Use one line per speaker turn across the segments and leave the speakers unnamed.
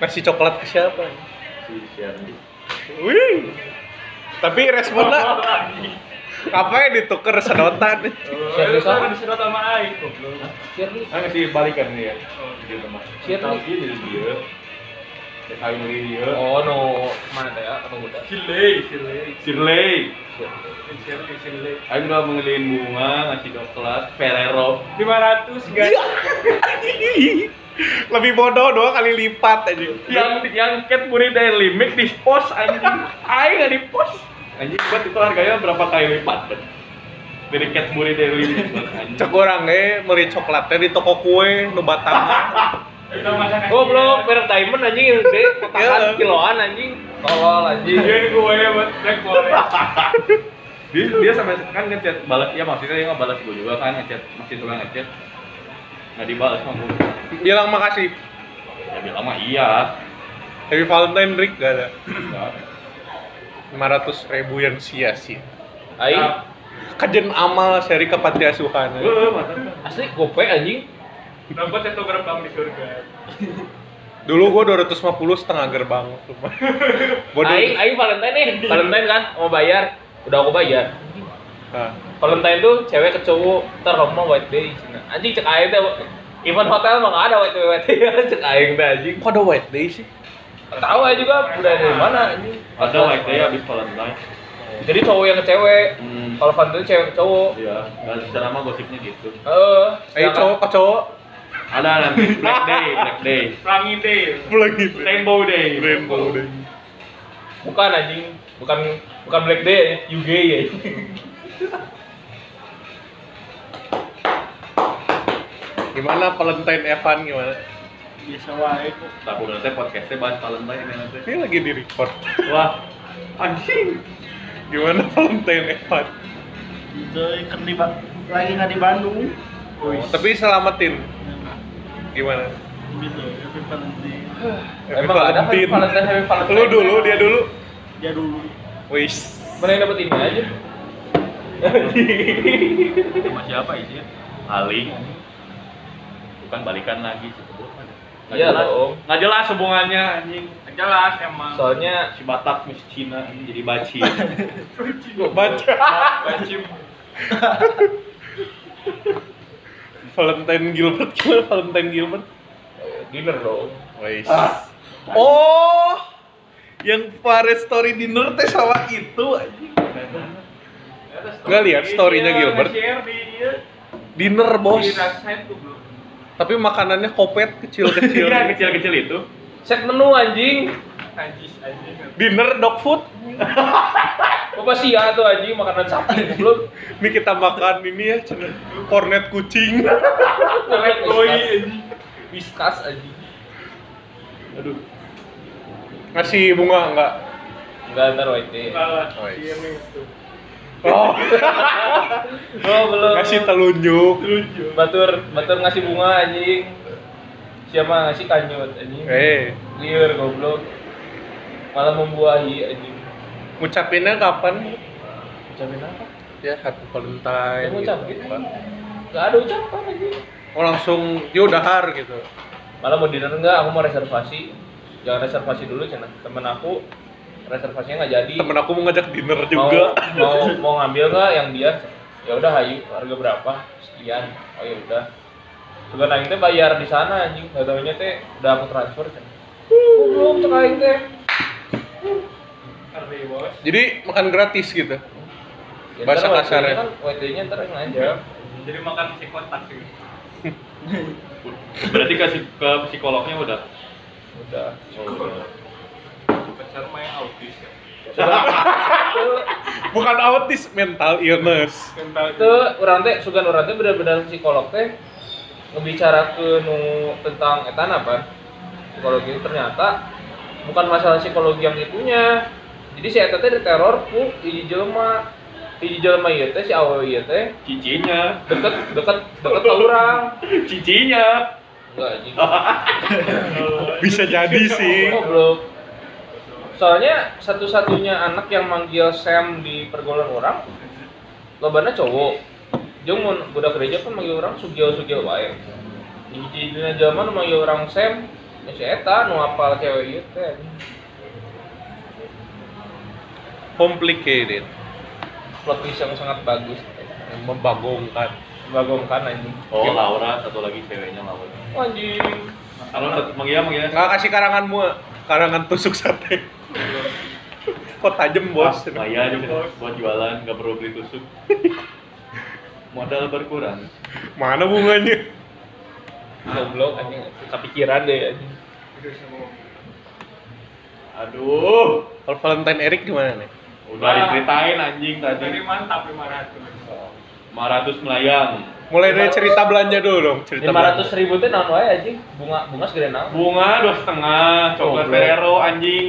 ngasih coklat ke siapa? ya?
si Sherly
Wih. Tapi responnya ngapain ditukar sedotan?
Share di sana.
disedot sama aing goblok.
Shirley
kan ngasih balikan dia
Oh.
di rumah
Shirley.
tapi dari dia dari kawin dari dia
oh no mana teh ya apa udah
Silei, silei.
Shirley
Shirley
Silei, silei.
Ayo udah mengeliin bunga, ngasih coklat, Ferrero
500 guys.
Lebih bodoh dua kali lipat aja.
Iya, yang yang cat muri dari limit di pos anjing aing nggak di pos anjing buat itu harganya berapa kali lipat Bet? dari cat muri dari limit Bet, anjing
Cek orang eh beli coklatnya di toko kue nu Batam.
Kita makan.
Oh,
Goblok, merek diamond anjing yang gede, kotakan
Iya.
kiloan anjing. Tolol anjing.
Dia gue ya buat black boleh.
dia, dia sampai kan ngechat balas ya maksudnya dia nggak balas gue juga kan ngechat masih suka ngechat nggak dibalas sama gue
Bilang makasih.
ya bilang mah iya
Tapi Valentine Rick gak ada.
Nggak.
500 ribu yang sia-sia.
Ai,
Ah. Nah,
Kajen amal seri ke panti asuhan.
Eh, eh, masa
asli gope anjing.
Dapat satu gerbang di surga.
Dulu gua 250 setengah gerbang rumah. Bodoh.
Aing, aing Valentine nih. Valentine kan mau bayar. Udah aku bayar.
Nah,
Valentine tuh cewek ke cowok, ntar Roma white day Cina. Anjing cek aing teh Even hotel mah nggak ada white day white day cek aing teh anjing.
kok ada white day sih?
Tahu aja juga udah dari mana anjing.
ada like day abis Valentine
Jadi cowok yang ke cewek.
hmm.
Kalau Valentine cewek ke cowok.
iya nggak secara mah gosipnya gitu
Eh,
Eh cowok kok cowok?
ada nanti black day black day
Pelangi deh.
Pulang gitu.
rainbow day
Rainbow day.
Bukan anjing, bukan bukan Black Day, ya. you gay ya.
Gimana Valentine Evan gimana?
Bisa wae kok.
tapi nanti podcastnya bahas Valentine ya nanti
Ini lagi di record.
wah anjing
Gimana Valentine Evan?
Itu kan di lagi nggak di Bandung.
Oh, tapi selamatin. Gimana?
Iya, Gitu, tapi penting.
Happy
Emang ada Happy Valentine, Happy Valentine.
Lu dulu, dia dulu.
Ya dulu.
Wis.
Mana yang dapat ini aja?
sama siapa isinya? Paling bukan balikan lagi Nggak
Iya
jelas.
dong.
Nggak jelas hubungannya anjing
Jelas emang.
Soalnya
si Batak Miss Cina ini jadi baci
Baca.
Wajib.
Valentine Gilbert gimana Valentine Gilbert?
eh, dinner dong.
Wais.
Ah.
Oh, yang Fares Story Dinner teh sama itu anjing. Nggak lihat story-nya Gilbert?
Share di iya.
Dinner bos.
Di
Iya.
website tuh belum.
Tapi makanannya kopet kecil-kecil.
iya kecil-kecil itu
Set menu anjing.
Najis anjing.
Dinner dog food.
Bapak sih ya tuh anjing makanan sapi belum.
Ini kita makan ini ya, cen- kornet kucing.
Korek
Koi anjing.
Whiskas anjing.
aduh
Ngasih bunga enggak?
Enggak ntar white day.
Salah.
Oi.
Iya nih itu.
Oh,
Oh belum.
ngasih telunjuk.
Lucu.
Batur, batur ngasih bunga anjing. Siapa ngasih kanyut anjing?
Eh,
Liar goblok. Malah membuahi anjing.
ngucapinnya kapan?
Ucapin apa?
Ya, happy Valentine.
Kamu
gitu,
ucapin
Pak.
Enggak ada ucapan anjing.
Oh, langsung dia udahar gitu.
malah mau dinner enggak aku mau reservasi jangan reservasi dulu cina temen aku reservasinya nggak jadi
Temen aku mau ngajak dinner
mau,
juga.
mau mau ngambil nggak yang dia ya udah hayu harga berapa sekian oh ya udah juga naik teh bayar di sana anjing nggak tahunya teh udah aku transfer cina belum cek aing teh
Arti bos.
Jadi makan gratis gitu.
Ya,
Bahasa
ntar
kasarnya.
WD-nya kan WD-nya ntar yang
Ya.
aja
Jadi makan si kotak sih.
berarti ke, psik- ke psikolognya udah
udah
Pacar main autis ya.
Bukan autis, mental illness.
Kental
itu orang teh sugan orang teh benar-benar psikolog teh ngebicarakeun nu tentang eta apa psikologi ternyata bukan masalah psikologi yang itunya jadi si eta teh diteror ku hiji jelema hiji jelema ieu teh si awewe ieu teh
cicinya
deket deket deket ke urang
cicinya
enggak anjing
Bisa jadi sih.
goblok soalnya satu-satunya anak yang manggil Sam di pergaulan orang lobana cowok jeung mun budak gereja kan manggil orang sugio sugio wae di dina zaman manggil orang Sam Ya si eta nu apal cewek ieu teh.
Complicated,
Plot twist yang sangat bagus.
membagongkan.
Bagongkan anjing. Oh,
Oh, Laura satu lagi ceweknya Laura.
Anjing.
Kalau satu Iya, mengira mengira.
Nggak kasih karanganmu, karangan tusuk sate. Iya. Kok tajem bos?
Maya juga Iya buat jualan nggak perlu beli tusuk. Modal berkurang.
Mana bunganya?
Goblok anjing. Kepikiran deh anjing.
Aduh.
Kalau Valentine Eric gimana nih?
Udah diceritain anjing tadi.
mantap 500.
500 melayang.
Mulai dari cerita belanja dulu dong, cerita
Lima ratus
belanja.
ribu teh naon wae anjing. Bunga bunga segede naon.
Bunga dua setengah, coklat
Goblok.
Ferrero anjing.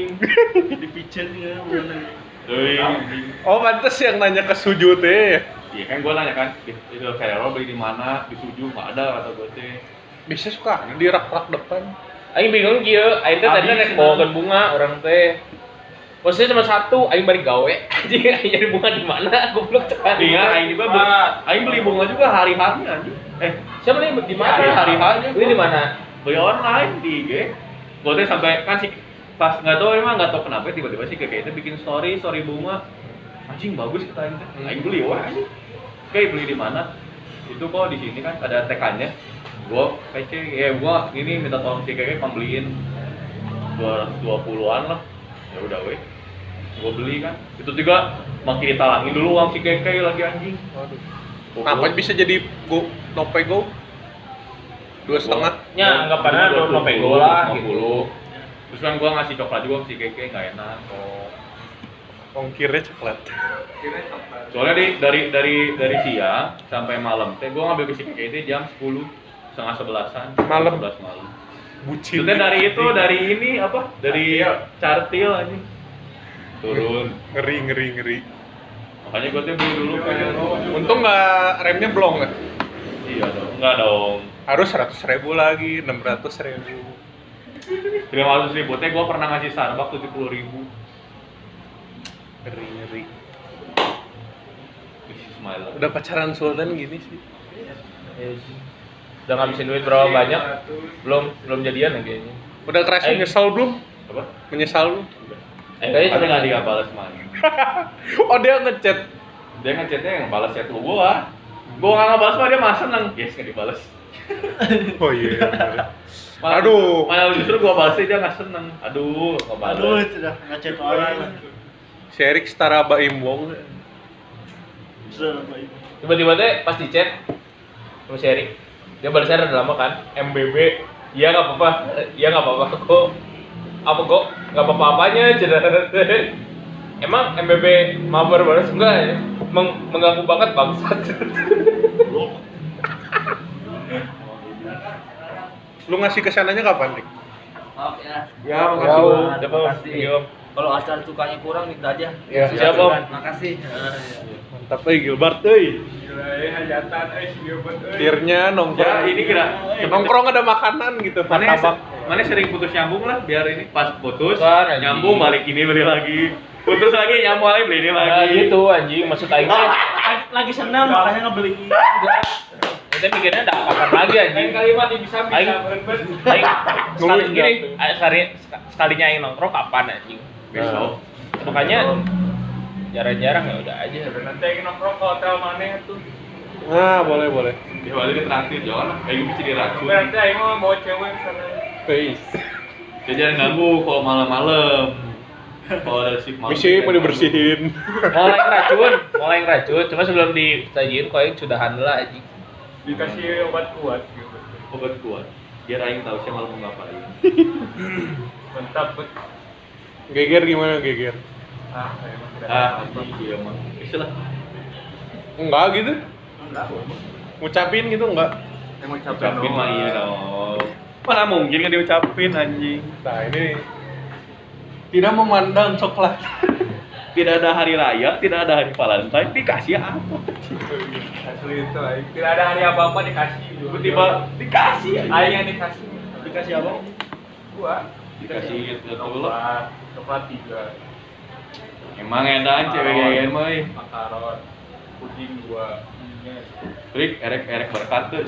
dipicet ya mana
Doi, anjing.
Oh, pantes yang nanya ke Suju teh.
Iya kan gua nanya kan, di- itu Ferrero beli di mana? Di Suju nggak ada kata gue teh.
Bisa suka ada di rak-rak depan.
Aing bingung kieu, aing teh tadi
Habis,
rek
nah.
bawakeun bunga orang teh. Posisinya cuma satu, aing bari gawe. Anjing aing nyari bunga di mana? Goblok tekan.
Iya, aing juga beli, aing beli bunga juga hari hari anjing. Eh,
Siapa nih di mana?
Iya, hari-harinya.
Beli di mana?
beli online di IG. Gue teh sampai kan si pas nggak tahu emang nggak tahu kenapa tiba-tiba si kakek itu bikin story story bunga. Anjing bagus kata aing teh. Aing beli wah anjing. Kayak beli di mana? Itu kok di sini kan ada tekannya. Gua kece ya gua ini minta tolong si kakek pembeliin 220-an lah. Ya udah weh. Gua beli kan. Itu juga makin ditalangin dulu uang si kakek lagi anjing.
Waduh.
Gua-
Kenapa bisa jadi go no pay go? Dua setengah.
Ya, anggapannya
Dua
lu mau
puluh,
pegol lah,
dua puluh. Terus kan gua ngasih coklat juga si Keke nggak enak.
Ongkirnya coklat.
Kira coklat.
Soalnya di, dari dari dari siang sampai malam. Teh gua ngambil ke si Keke itu jam 10 setengah sebelasan.
Malam.
Sebelas malam.
Bucin.
Maksudnya dari itu dari ini apa? Dari cartil aja. Turun.
ngeri ngeri ngeri.
Makanya gua tuh beli dulu kan.
Untung nggak remnya blong nggak?
Iya dong. Enggak dong.
Harus seratus ribu lagi, enam ratus ribu.
500 ribu. Teh gua pernah ngasih Starbucks 70 ribu.
Ngeri ngeri.
Ih, Smiler.
Udah pacaran Sultan gini sih.
Udah ngabisin duit berapa
Iya.
banyak? Belum belum jadian lagi kayaknya.
Udah kerasa
Eh.
menyesal belum?
Apa?
Menyesal belum?
Eh, kayaknya
Tapi
cuma
nggak dibalas malah.
Oh dia ngechat.
dia ngechatnya yang balas chat lu gua gua nggak ngebales mah dia malah seneng yes nggak dibales
Oh iya.
malah,
Aduh.
malah justru gua balasnya dia nggak seneng aduh nggak
aduh
balas
sudah ngecek orang
si Erik setara Baim Wong.
sudah baik
tiba-tiba teh pas di chat sama si Erik. Dia balasnya udah lama kan? MBB. Iya nggak apa-apa. Iya nggak apa-apa kok. Apa kok? Nggak apa-apa apanya cedera. Emang MBB mabar balas enggak ya? Meng- mengganggu banget bangsat.
Lu ngasih kesananya kapan, Dik?
Maaf ya.
Ya,
makasih, Om.
Terima
Dapat
kasih. Kalau asal sukanya kurang minta aja.
Ya,
Iya,
siap, Om.
Makasih.
Mantap euy Gilbert euy.
Gila, eh, hajatan, eh, video buat, eh.
Tirnya
ya
nongkrong.
ini kira
nongkrong ada makanan gitu,
mana ya,
martabak.
mana sering putus nyambung lah biar ini pas putus
Kan, anjing.
nyambung balik ini beli lagi putus lagi nyambung lagi beli ini lagi
Nah, gitu anjing maksud aing teh.
lagi senang makanya ngebeli
Kita mikirnya ada kapan lagi anjing.
Lain kalimat yang bisa
Aing.
bisa berbet.
Aing sekali
Ngeluh
gini,
enggak
aing sekali sekalinya aing nongkrong kapan anjing?
besok
Nah. Makanya jarang-jarang ya udah aja.
Nanti yang nongkrong ke hotel mana tuh?
Nah, boleh boleh.
ya balik ini traktir jangan lah kayak gue bisa diracun
Berarti Aing mau bawa cewek ke sana.
Peace.
ya jangan ganggu kalau malam-malam kalau ada shift malam
Misi ya, mau
jangan
dibersihin.
mulai racun, mulai racun. Cuma sebelum ditajirin kok aing sudahan lah anjing.
Dikasih obat kuat gitu.
ganggu. obat kuat biar Aing tahu sih malam mau ngapain
Mantap bet.
Geger gimana geger?
Ah, emang keren.
ah anjing iya mah bisa lah
Enggak gitu.
Enggak.
Ngucapin gitu enggak.
Yang mau capek
Ucapin mah
doang.
iya dong. Mana mungkin kan diucapin anjing.
Nah, ini tidak memandang coklat.
Tidak ada hari raya, tidak ada hari Valentine, dikasih apa?
Asli itu Gitu, Aing. Tidak ada hari apa-apa dikasih.
Tiba-tiba dikasih aja.
Aing yang dikasih.
dikasih apa
Gua.
Dikasih itu dulu.
Coklat. Coklat tiga.
Emang edan cewek gaya mah. eh.
Makaron. Puding dua.
Trik erek erek berkat tuh.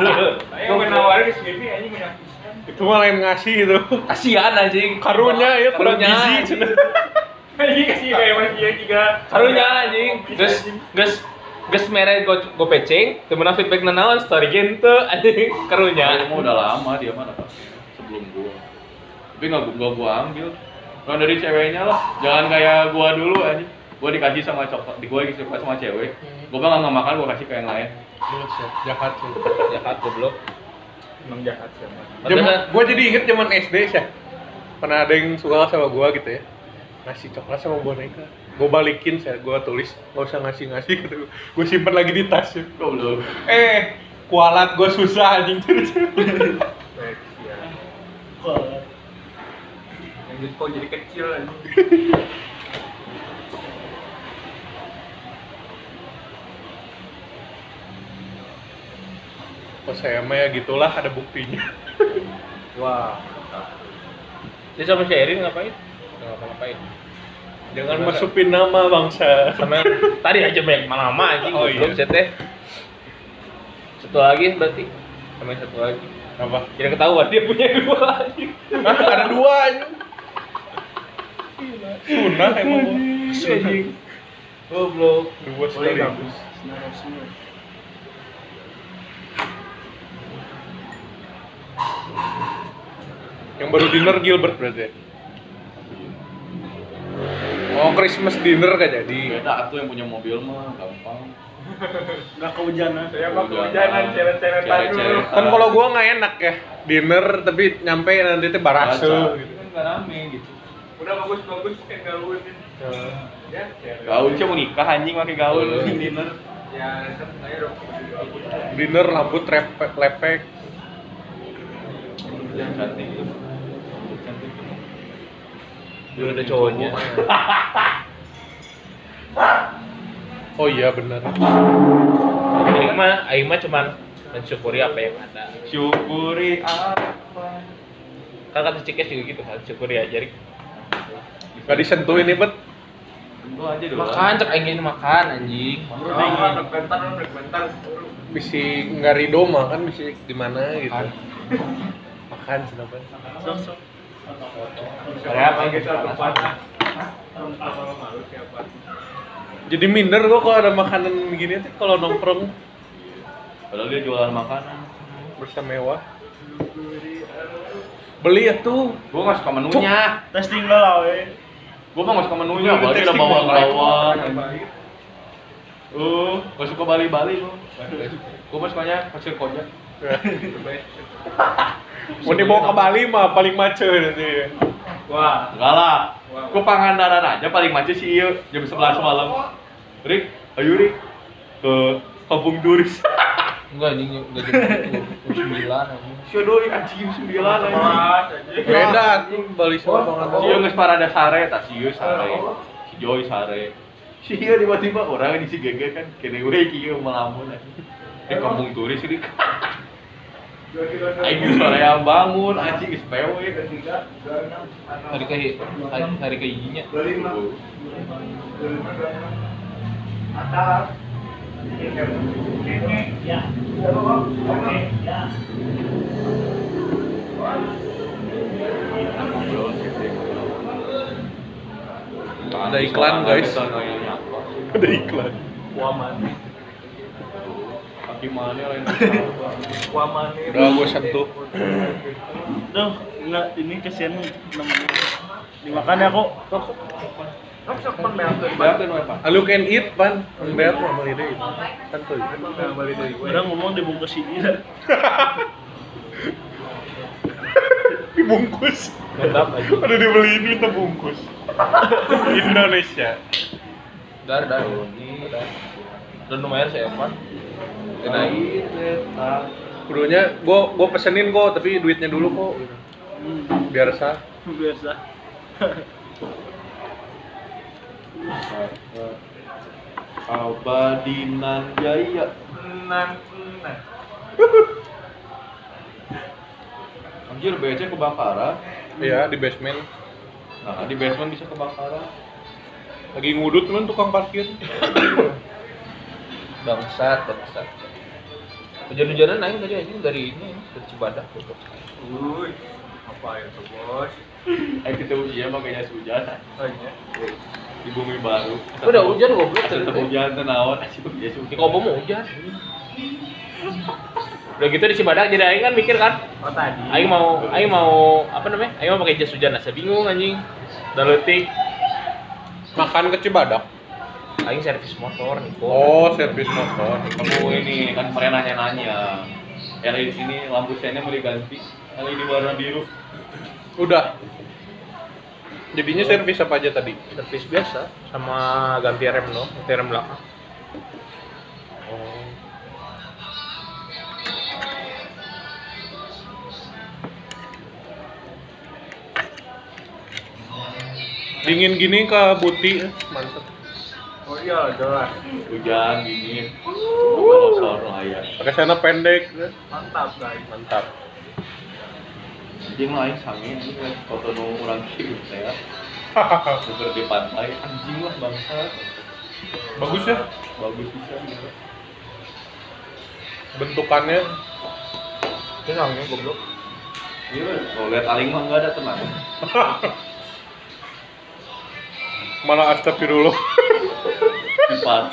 Aing mau nawarin di sini, Aing punya pisan.
itu malah yang ngasih gitu. itu
Kasihan anjing.
karunya
iya,
ya kurang
Karunya,
gizi
anjing.
Ini kasih Iya, kayak masih yang tiga.
Karunya anjing. Geus geus geus mere go, go pecing, teu meunang feedback nanaon story game teu anjing
Ya,
karunya.
emang udah lama dia mah dapatnya sebelum gua. Tapi nggak gua nggak gua ambil. Kalau dari ceweknya lah, jangan kayak gua dulu aja. Gua dikasih sama coklat, di gua dikasih sama cewek. Gua bilang nggak makan, gua kasih ke yang lain.
jahat sih
Jahat goblok.
Emang jahat sih. emang.
Padahal- kan-
gue jadi inget zaman SD sih pernah ada yang suka sama gue gitu ya ngasih coklat sama boneka gue balikin saya gue tulis gak usah ngasih ngasih gitu gue simpen lagi di tas ya.
Goblok.
eh kualat gue susah anjing
Yang kok jadi kecil aja.
Oh saya mah ya gitulah ada buktinya
Wah.
Dia sama si Erin ngapain? Ngapa-ngapain?
jangan masukin nama bangsa
Sama tadi aja banyak lama anjing.
Oh,
goblok,
iya.
set, teh. Satu lagi berarti. Sama satu lagi.
apa
Tidak ketahuan dia punya dua anjing.
Hah, ada dua ini sunah emang gua.
Anjing. Goblok.
dua
Boleh
sekali
gabus. Senarai semua.
yang baru dinner Gilbert berarti ya? Oh Christmas dinner gak jadi
Beda atuh yang punya mobil mah gampang.
Nggak Ya, kehujanan.
Saya mah kehujanan ceret-ceretan dulu.
Ceret-ceretan.
kan kalau gua nggak enak ya dinner tapi nyampe nanti teh barase
Barasa.
gitu
Kan nggak rame gitu.
Udah bagus-bagus kayak gaun. Ya, ceret.
Gaun sih mau nikah anjing pakai gaun
Boleh.
dinner.
Ya, set saya dong.
dinner rambut repek lepek
Yang cantik. Cantik.
Dulu ada cowoknya.
oh iya benar
Aing mah Aing mah cuman mensyukuri apa yang ada.
Syukuri Ah, apa?
Kan kata Cikes juga gitu kan, syukuri aja. Rik.
nggak disentuh ini bet
Tentu aja dulu.
Makan cek aing ingin makan anjing.
Bro, dengar bentar, rek bentar.
bisi nggak rido mah kan bisi di mana gitu
Makan.
makan kenapa
Sok, sok.
Saya apa kita tempat. Kalau malu siapa?
jadi minder gua kalau ada makanan begini tuh kalau nongkrong
Padahal dia jualan makanan.
bersemewah beli ya tuh
Gua nggak suka menunya.
Testing lo eh. lah, weh.
Gua mah nggak suka menunya.
Lu
Bali udah
testing
bawa
dong.
ngelawan.
Baik.
Uh, gak suka Bali-Bali gua. Gua mah sukanya pasir kojak.
mau dibawa ke Bali mah paling macet nanti ya.
Wah,
Enggak lah. Gua Pangandaran aja paling macet sih iya jam 11 malam. Rik, ayo Rik ke Kampung Duris.
Enggak anjing enggak jadi sembilan anjing.
Syodoi anjing jam 9 anjing.
kelas aja.
beda tuh Bali sama
Si Iyo
Pangandaran
nges parada sare, tak si Iyo sare. Si Joy sare. Si Iyo tiba-tiba orang di si Gege kan kene we ki Iyo melamun anjing. Eh kampung turis Rik.
Dua kilo satu.
Aing sore yang bangun anjing geus PW.
Tiga, dua, enam, enam.
Hari ke hari, hari ke ijinya.
Dua lima. Dua lima, dua enam. Atas. Ini. Ya. Oke. Ya.
Ada iklan, guys. ada iklan
Wamani.
Kaki mana lain.
Wamani.
Udah, gua sentuh.
Duh, nggak, ini kesian namanya. Dimakan ya kok.
Kan sok pendamping.
Bayangkan apa?
Alu can Ah, eat pan, bayar mau beli deh. Kan tuh.
Pendamping balik dari gue.
Orang ngomong dibungkus ini dah.
Dibungkus.
Mantap anjing.
Udah dibeliin minta bungkus. Indonesia.
Dar dar. Dan lumayan saya empat. Kenai.
Kudunya gua gua pesenin kok, tapi duitnya dulu kok. gitu.
Hmm,
Biar sah.
biasa.
Abadinan Jaya.
Enam, enam.
Anjir BC kebakaran.
Iya, di basement.
Nah, di basement bisa kebakaran.
Lagi ngudut temen tukang parkir.
Bangsat, bangsat. hujan-hujanan naik tadi anjing dari ini dari Cibadak gitu.
Uy, apa itu bos? Eh ketemu dia makanya hujan. Di bumi baru.
Udah hujan goblok
Asal tetep
tadi.
hujan tenawan. Asal dia suka.
Di Kopo mau hujan. Udah gitu di Cibadak jadi aing kan mikir kan,
Oh tadi.
aing mau aing mau apa namanya? Aing mau pakai jas hujan asa bingung anjing. Udah leutik.
Makan ke Cibadak.
Aing servis motor nih.
Oh, servis motor.
Kamu ini kan kemarin nanya-nanya. LED di sini lampu senya mau diganti. LED warna biru.
Udah. Jadinya servis apa aja tadi?
servis biasa sama ganti rem dong, ganti rem belakang.
Dingin gini ke buti, mantep.
Oh iya jelas.
Hujan dingin. Kalau oh, iya. sore layar.
Pakai sana pendek,
Mantap guys.
mantap.
Anjing lah, aing sange anjing lah. Foto nu urang kieu teh. Seger ya. di pantai anjing lah bangsa.
Bagus ya
Bagus bisa gitu.
bentukannya.
Itu namanya ya, goblok.
Iya, kalau lihat aling mah enggak ada tenang.
Malah astagfirullah.
Empat.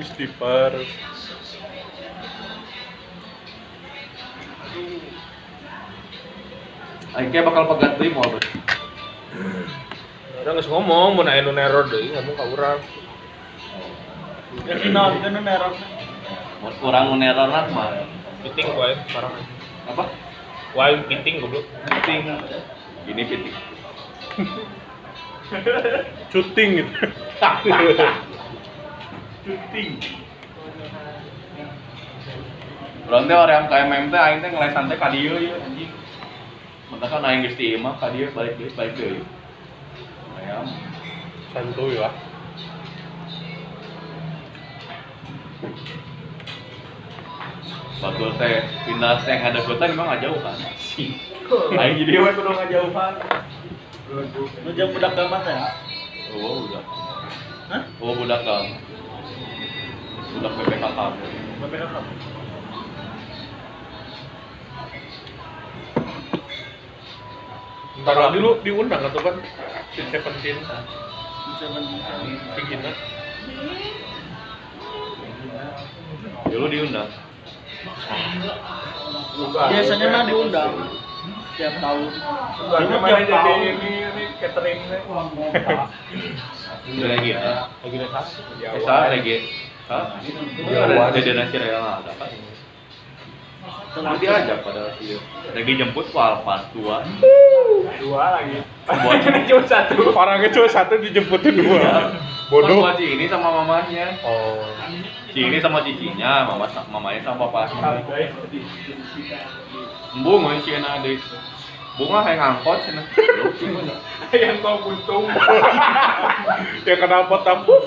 Istighfar.
Aing kayak bakal pegat deui mau bos.
Udah nggak ngomong, mau naik nu error deh, ngomong ke orang.
Ya kenal, kan neror.
Mau kurang meneroran mah.
Piting gue, parah.
Apa?
Wah, piting goblok.
Piting. Gini piting.
Cuting gitu.
Piting. Orang teh orang KMM teh aing teh ngelesan teh ka dieu ieu anjing. Mentah kan aing geus di imah ka dieu balik deui balik deui. Ayam.
Santuy lah.
Batul teh pindah teh ada kota memang nggak jauh kan. Aing jadi we kudu ngajauhan.
Lu jangan budak gamat ya.
Oh, udah.
Hah?
Oh, budak kan. Budak PPKK.
Bapak kakak.
Ntar lagi lu diundang atau kan? Si Seventeen,
Mencoba
si Gina.
Ya lu diundang.
Biasanya mah diundang tiap tahun.
Bukan
mana jadi
ini ini cateringnya.
Udah lagi ya.
Lagi naik kelas.
Bisa lagi. Hah? Iya,
Jawa.
ada jajan nasi rela ada kan. Nanti aja pada video. Lagi jemput ke Alphard tua.
Dua lagi.
Buat
Cuma satu.
Orangnya cuma satu dijemputin dua. Bodoh.
Buat si ini sama mamanya.
Iya. Oh.
Si ini sama cicinya, mama mamanya sama papanya.
Baik.
Embung euy cieuna deui. Bunga hayang angkot cenah.
Yang kau untung.
Ya kenapa tamu?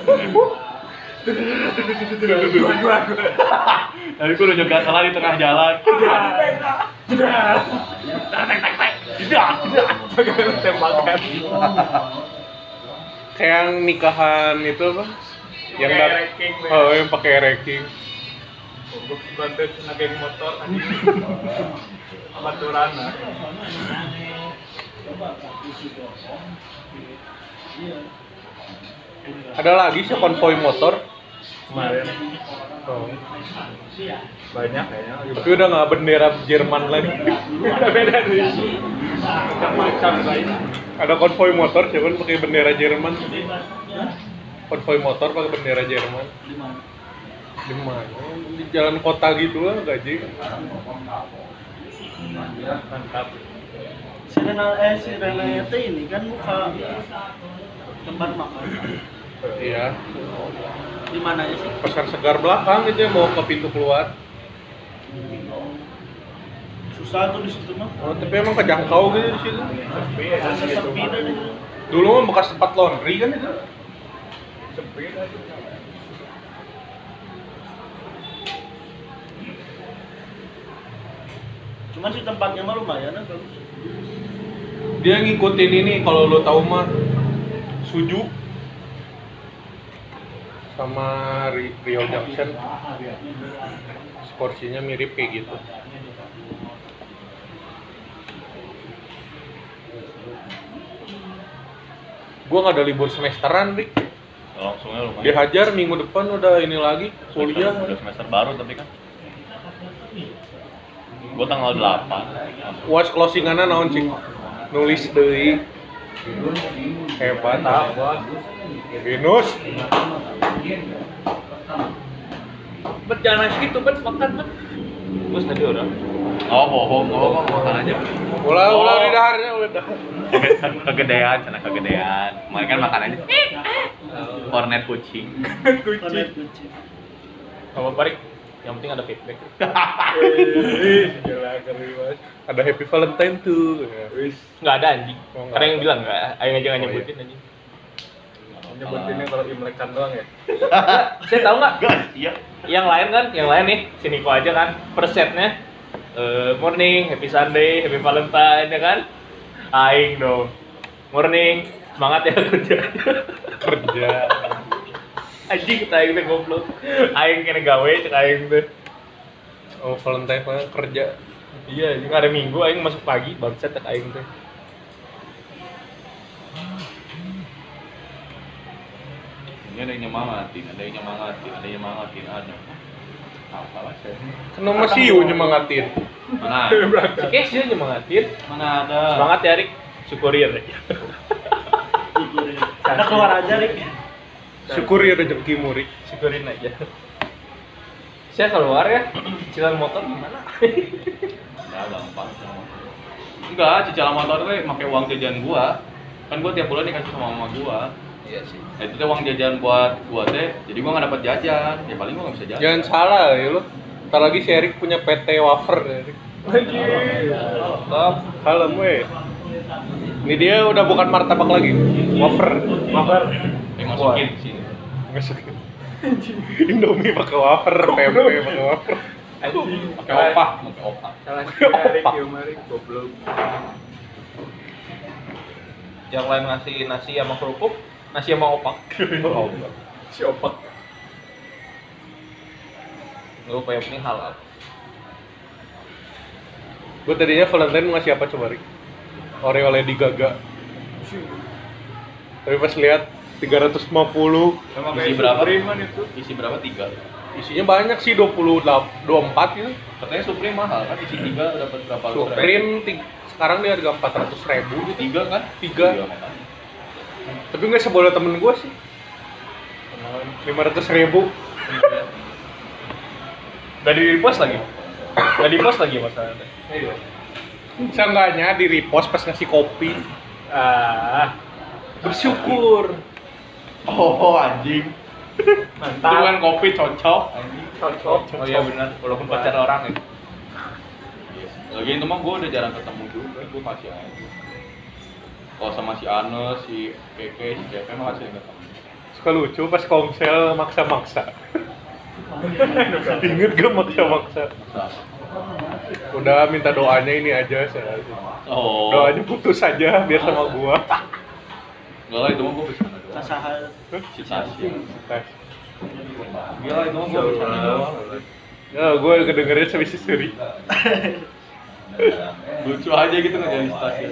Dua-dua.
Tapi gua udah nyoga salah di tengah jalan. Tidak.
Tembakan.
Kayak yang nikahan itu apa? Yang
Pakai
dat-
ranking, Bang.
Oh, yang pakai ranking.
Goblok banget kena geng motor anjing. ah. Amaturan lah.
Ada lagi sih konvoy motor.
Kemarin
Oh.
banyak kayaknya.
Tapi udah nggak bendera Jerman lagi. Beda nih.
Macam-macam lain.
Ada konvoy motor, cuman pakai bendera Jerman. Konvoy motor pakai bendera Jerman. Di mana? Di jalan kota gitu lah, gaji.
Mantap.
Si Renal eh si Renal itu ini kan buka tempat makan.
Iya.
Di mananya sih?
Pesan segar belakang itu yang mau ke pintu keluar.
Susah tuh di situ mah.
Oh, tapi emang kejangkau gitu di situ.
Sepi ya
Rasa
gitu.
sepi dah di situ.
Dulu mah bekas tempat laundry kan itu.
Sepi dah.
Cuman si tempatnya mah lumayan lah bagus.
Dia ngikutin ini kalau lo tahu mah. Suju. sama Ri- Rio Junction porsinya mirip kayak gitu gua nggak ada libur semesteran Rik
Langsungnya lu kan.
dihajar minggu depan udah ini lagi
Kuliah
kuliah
udah semester baru tapi kan. Gua tanggal 8.
watch closingannya naon cik nulis deui hebat ah.
Apa?
Venus
Bet jangan nasi gitu, bet makan, bet.
Terus tadi udah. Oh, bohong, bohong, makan aja.
ulah ulah
Oh.
di daharnya udah
Ke- Kegedean, cina kegedean. Kemarin kan makan aja. Kornet kucing.
Konek kucing.
Kalau Parik, yang penting ada feedback.
ada happy valentine tuh ya.
Nggak ada anjing.
Oh, nggak
Karena yang
ada.
bilang nggak, ayo aja nggak
Oh, iya.
nyebutin anjing.
Nyebutinnya kalau imlekan doang ya.
Saya tahu nggak?
Guys, iya.
Yang lain kan, yang lain nih, sini kok aja kan, persetnya. eh morning, happy Sunday, happy Valentine, ya kan? Aing dong. Morning, semangat ya kerja.
kerja
Anjing kita aing teh goblok. Aing kena gawe, cek aing teh.
oh valentine mah kerja
Iya, anjing hari Minggu aing masuk pagi, bangsat cek aing teh.
Ini ada yang nyemangatin, ada yang nyemangatin, ada yang nyemangatin, ada. Apa lah saya?
kenapa sih you nyemangatin
Mana?
Si Kesha nyemangatin.
Mana ada?
Semangat ya, Rik. Syukurin, Rik.
Syukurin. Kita keluar aja, Rik.
syukuri rezeki murik
syukurin aja saya keluar ya cicilan motor gimana
Enggak gampang sama. Enggak, cicilan motor gue pakai uang jajan gua. Kan gua tiap bulan dikasih sama mama gua.
iya sih
Nah, itu teh uang jajan buat gua teh. Jadi gua nggak dapat jajan. Ya paling gua nggak bisa jajan.
jangan salah ya lo Ntar lagi si Erik punya PT wafer ya, Erik.
top
Kalem weh. Ini dia udah bukan martabak lagi. Wafer. Wafer.
Eh, masukin sini.
Masukin. Indomie pakai wafer, pempek pakai wafer.
anjing
Pakai opah, pakai opah.
Salah sih Erik, Yumarik, goblok.
yang lain ngasih nasi sama kerupuk nasi sama opak
Oh,
Si opak.
gue kayak penting halal
Gue tadinya Valentine mau ngasih apa coba, Rik? Oreo Lady Gaga. Tapi pas lihat 350
Sama
Isi
kayak
berapa?
Supreman itu.
Isi berapa? Tiga.
isinya banyak sih 28 24 gitu.
Katanya Supreme mahal kan? Isi tiga dapat berapa? ratus ribu?
Supreme ti- sekarang dia harga 400 ribu gitu.
tiga kan?
Tiga.
makanya.
Tapi nggak sebodoh temen gue sih. 500 ribu.
gak di repost lagi gak di post lagi ya, masalahnya
Iya. Seenggaknya di repost pas ngasih kopi.
ah
Bersyukur.
Oh, anjing. Itu
mantap
kan kopi cocok.
Cocok.
oh iya benar walaupun pacar orang ya
Lagi itu mah gue udah jarang ketemu juga, gue kasih aja. Kalau sama si Ane, si Keke, si Keke mah kasih ketemu.
Suka lucu pas komsel maksa-maksa. Ingat gak maksa-maksa?
Sama.
Udah minta doanya ini aja saya.
Oh.
Doanya putus aja biar sama gua.
Enggak lah itu mah gue pesan doang.
Kasahal.
Si Tasya.
Nah,
Enggak lah Iya, itu mah gue pesan doang.
ya, gua kedengerin sampai si Suri.
Lucu aja gitu ngejalan si Tasya.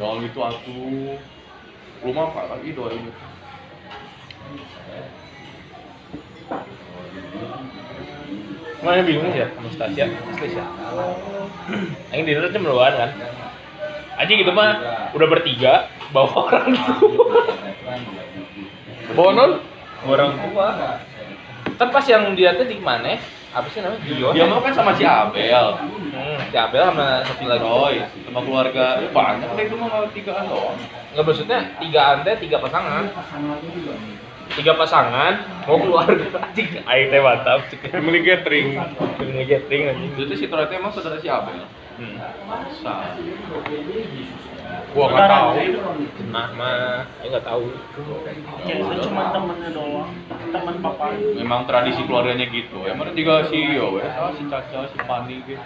Jangan gitu aku. Lu mah apa lagi doain?
mana bingung ya sama Stasia Stasia yang di dalam meluan kan aja gitu mah udah bertiga bawa orang
Bonol?
orang tua kan pas yang dia tuh di mana apa sih namanya Gion
Dia mah kan sama si Abel,
hmm, si Abel sama
si
satu lagi
Oh.
Roy, sama keluarga. Banyak deh itu mah tigaan doang.
nggak maksudnya tiga ante tiga pasangan tiga pasangan mau keluar anjing ayo teh mantap
Family gathering.
ngegetting anjing
Itu tuh si Troy tuh emang saudara si Abel.
Hmm.
Masa?
Gua nggak tahu.
nah mah ya nggak tahu
Kayaknya cuma temennya doang. Temen papa.
memang tradisi keluarganya gitu ya mana juga si yo ya sama si caca si pani gitu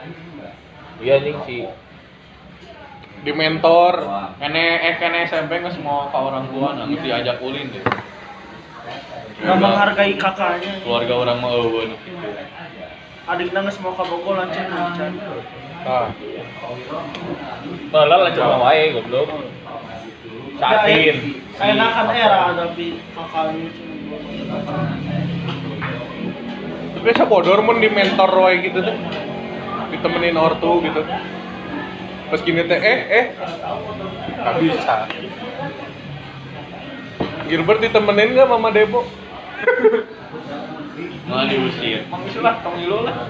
iya anjing si
Di mentor.
kene eh kene SMP nggak semua ke orang tua nah mesti ajak ulin deh
nggak menghargai kakaknya
keluarga orang gitu. mah eueuh nu kitu.
adik nangis mau kaboko lancar lancar
ah
Malah lancar mah wae goblok. Satin.
enakan era tapi kakaknya cuma
tapi sabodor mun di mentor roy gitu tuh ditemenin ortu gitu pas gini teh eh eh nggak bisa Gilbert ditemenin nggak mama Debo
Malah diusir.
Mangis lah, tong ilu lah.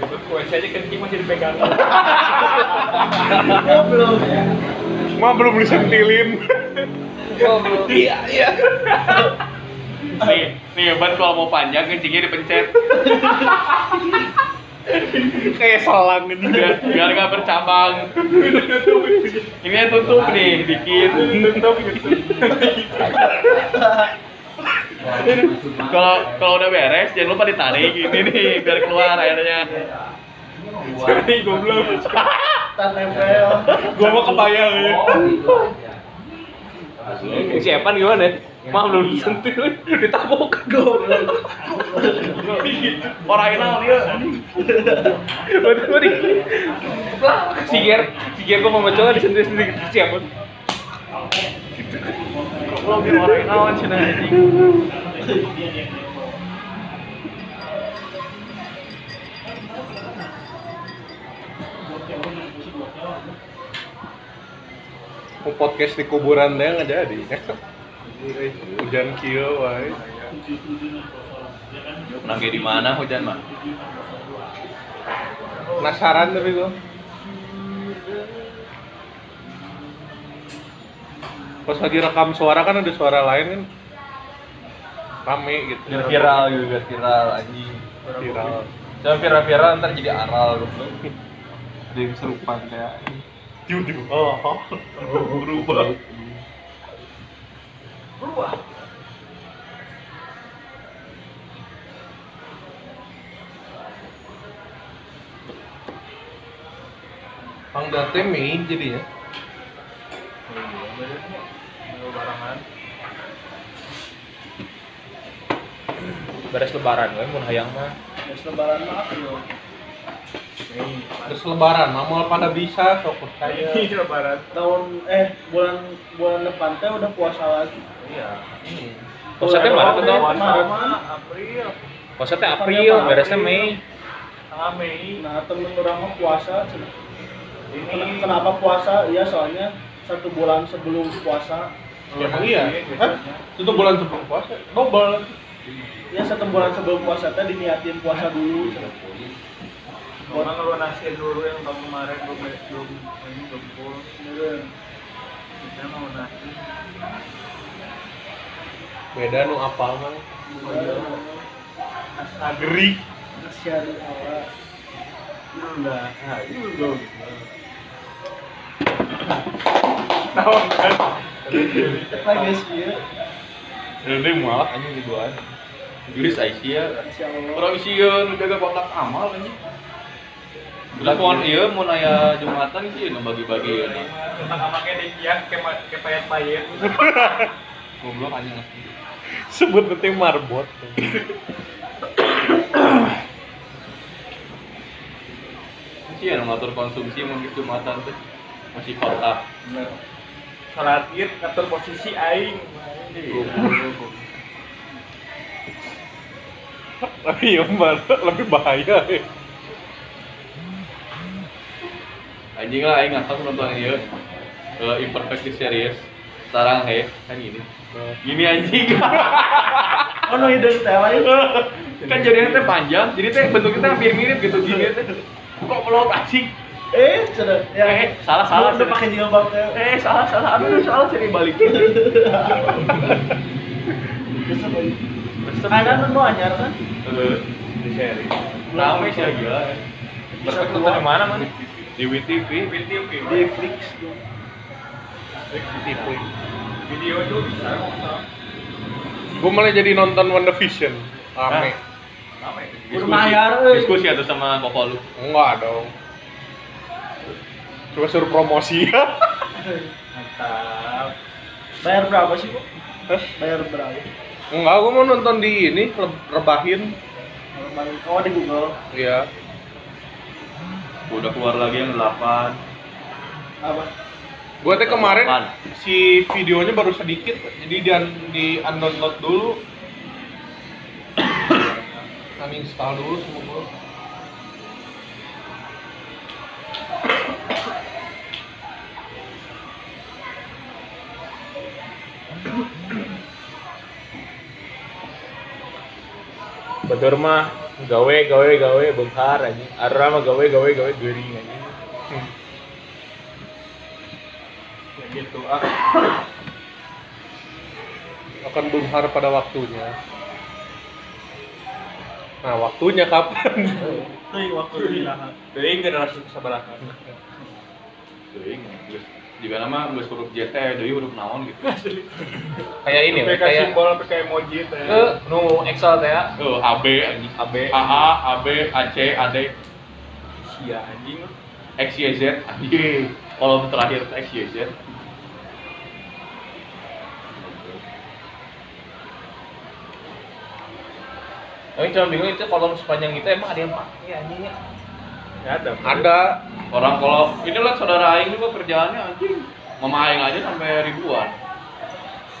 Itu kuensi aja kan masih dipegang.
Ma belum disentilin.
Iya, iya.
Nih, nih ban kalau mau panjang kencingnya dipencet.
Kayak salang gitu.
biar biar nggak bercabang ini yang tutup nih dikit tutup kalau kalau udah beres jangan lupa ditarik ini nih biar keluar airnya
Ini goblok.
Gua mau kebayang ya.
Si Evan gimana? Mah belum
Iya.
disentil, ditabok goblok.
orang kenal iya. dia
Waduh, waduh. Lah, si Ger, si Ger kok mau mencoba disentil sendiri gitu. si Evan.
belum dia orang kenal kan cina anjing
Mau podcast di kuburan deh nggak jadi. Hujan kieu wae.
pernah kayak di mana hujan mah
Penasaran tapi gua. Pas lagi rekam suara kan ada suara lain kan rame gitu.
gitu, biar viral anjing.
Viral.
Jangan viral-viral ntar jadi aral goblok. Ada yang serupan ya.
Oh, berubah. Pangdate Mei jadinya.
Beres lebaran gue mun hayang mah.
lebaran mah April
Terus lebaran, mamal pada bisa sok percaya.
Ini lebaran.
tahun eh bulan bulan depan teh udah puasa lagi
Iya.
Puasa teh Oh, Maret atau
Maret?
Maret mah April.
Puasa teh April, beresnya Mei.
Tengah Mei.
nah temen orang mah puasa cenah. Ken-
Ini
kenapa puasa iya soalnya satu bulan sebelum puasa
Emang iya? Hah? Itu bulan sebelum puasa. Oh. Double.
ya satu bulan sebelum puasa teh diniatin puasa dulu cenah.
Orang ngelunasin dulu yang tahun kemarin belum belum ini belum full. Kita mau nasi.
Beda nu apal mah. Agri.
Asyhadu Allah. Lagi sih,
ini malah anjing ribuan Inggris Aisyah
insya Allah.
orang Aisyah nu jaga kotak amal anjing Udah pohon iya, mau naya Jumatan sih, ngebagi-bagi ya.
Tentang amaknya dia kayak kayak payet-payet.
Goblok anjing asli.
Sebut penting marbot.
sih yang ngatur konsumsi mungkin jumatan tuh masih kotak
Salat id ngatur posisi aing.
Tapi yang marbot Iya, lebih bahaya. ya.
anjing lah aing ngasal nonton ieu uh, imperfect series sarang he kan gini gini anjing
Oh no, hidung teh lain.
kan jadinya teh panjang jadi teh bentuknya teh hampir mirip gitu gini teh kok pelok anjing
Eh, sudah.
Eh,
Ya,
salah, salah,
Udah
salah.
pakai jilbab ya. teh.
eh salah salah aduh salah sering balikin
Besok lagi.
Besep.
Ada nu anyar kan?
Eh, di series rame sih ya, gila
Bisa
Perfect nonton
keluar.
di mana mana di WTV
Video
Di Flix.
video itu bisa bisa.
Gue malah jadi nonton One Division. Rame.
Apa itu?
Bermayar, eh.
diskusi atau sama bapak lu
Enggak dong. Coba suruh promosi ya.
Mantap.
Bayar berapa sih, Bu? Bayar berapa?
Enggak, gua mau nonton di ini Re- rebahin.
Kemarin oh di Google
Iya.
Gua udah keluar lagi yang 8
apa?
Gua teh kemarin
Apaan?
si videonya baru sedikit, jadi di di undownload dulu. Kami install dulu semua. gua.
Bener mah gawe gawe gawe bentar aja. Arra mah gawe gawe gawe gering aja.
ya gitu ah
Akan benghar pada waktunya. Nah, waktunya kapan?
Tuh waktu istirahat.
Teuing generasi sabaraha
Teuing, geus. Jika nama geus huruf JT, deui huruf naon gitu.
Kayak ini
Sampai
weh,
kayak
kayak
simbol sampai kayak emoji teh
ke nu Excel teh ya.
Eh, AB anjing.
AB.
AA, AB, AC, AD,
sia anjing lu.
XYZ. Anjing. Kalau terakhir XYZ.
Yang cuma bingung itu kolom sepanjang itu emang ada yang pakai anjingnya.
Nggak ada
Ada
Orang kalau ini lah saudara aing juga kerjaannya anjing. Mama aing aja sampai ribuan.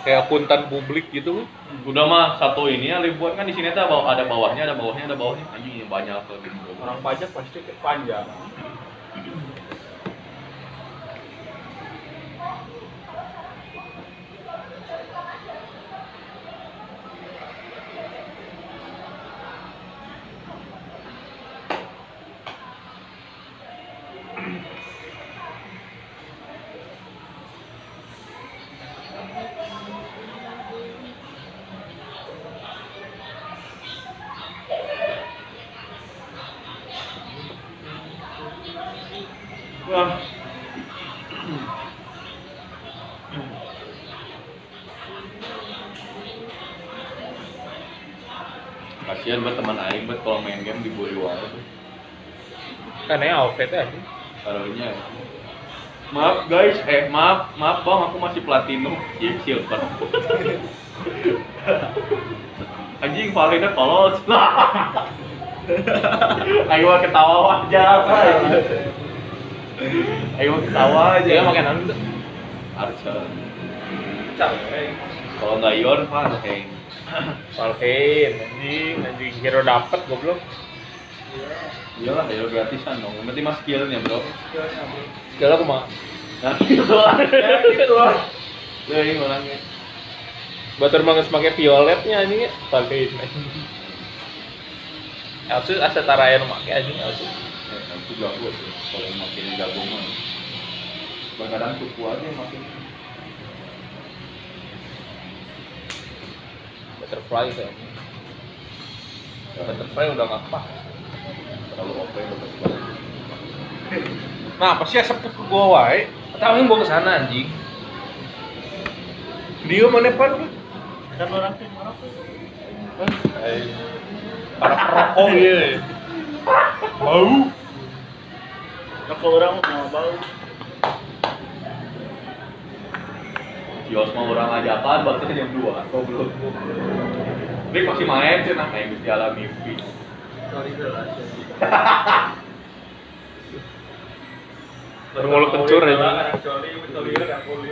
kayak akuntan publik gitu.
Udah mah satu ini ya ribuan kan di sini tuh bawah- ada bawahnya, ada bawahnya, ada bawahnya. Anjing yang banyak kalau gitu.
orang pajak pasti kayak panjang wah
Kasihan buat teman aing buat kalau main game dibully wae tuh.
Karena outfit aja.
Taruhnya. Maaf guys, eh maaf, maaf bang, aku masih platinum, ya silver. Anjing Valina polos lah. Ayo mah ketawa wajar. Ayo mah ketawa aja.
Dia anu pakai nanti.
Arca.
capek
Kalau nggak Ion, Van, hey.
Valheim anjing anjing hero dapat goblok.
Iyalah, ya gratisan dong. Yang penting mas skillnya bro.
Segala kumaha?
Nah gitu lah. gitu lah. Tuh ini orangnya.
Batur banget pakai violetnya anjingnya. Valheim anjing. Elsus asa tarayan make anjing Elsus.
Eh, itu jago sih. Kalau yang makin jago mah. Kadang suku aja yang makin.
Butterfly itu. Butterfly udah nggak apa.
Terlalu OP banget banget.
Nah, pasti asep ke gua wae.
Tahu yang bawa ke sana anjing.
Dia mana pan?
Kan orang tuh marah tuh.
Para perokok ya. Bau.
Nah, kalau orang mau bau.
Kios mah orang aja apaan batasnya jam 2. Kok belum? Bik masih main sih nah yang bisa alami mimpi.
sorry generasi
Bermulut kencur aja.
Kecuali, kecuali, kecuali.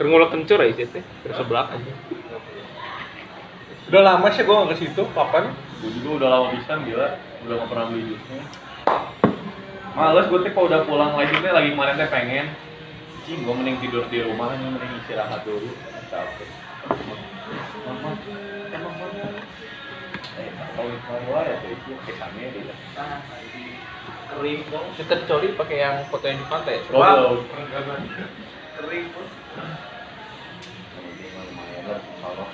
Terngulak kencur aja teh. Terus sebelah anjing.
Udah lama sih gua nggak ke situ. Kapan?
Gue juga udah lama pisan gila, udah gak pernah beli jusnya. Males gue teh kalau udah pulang lagi teh lagi kemarin teh pengen. Cing, gue mending tidur di rumah aja, mending istirahat dulu. Capek. Mama, emang mana? Eh, kalau yang luar ya tuh itu kesannya dia.
kering kok
Kita dicoli pakai yang foto yang di pantai. ya?
Roblox.
kering kok
Yang penting mah lumayan lah, insyaallah.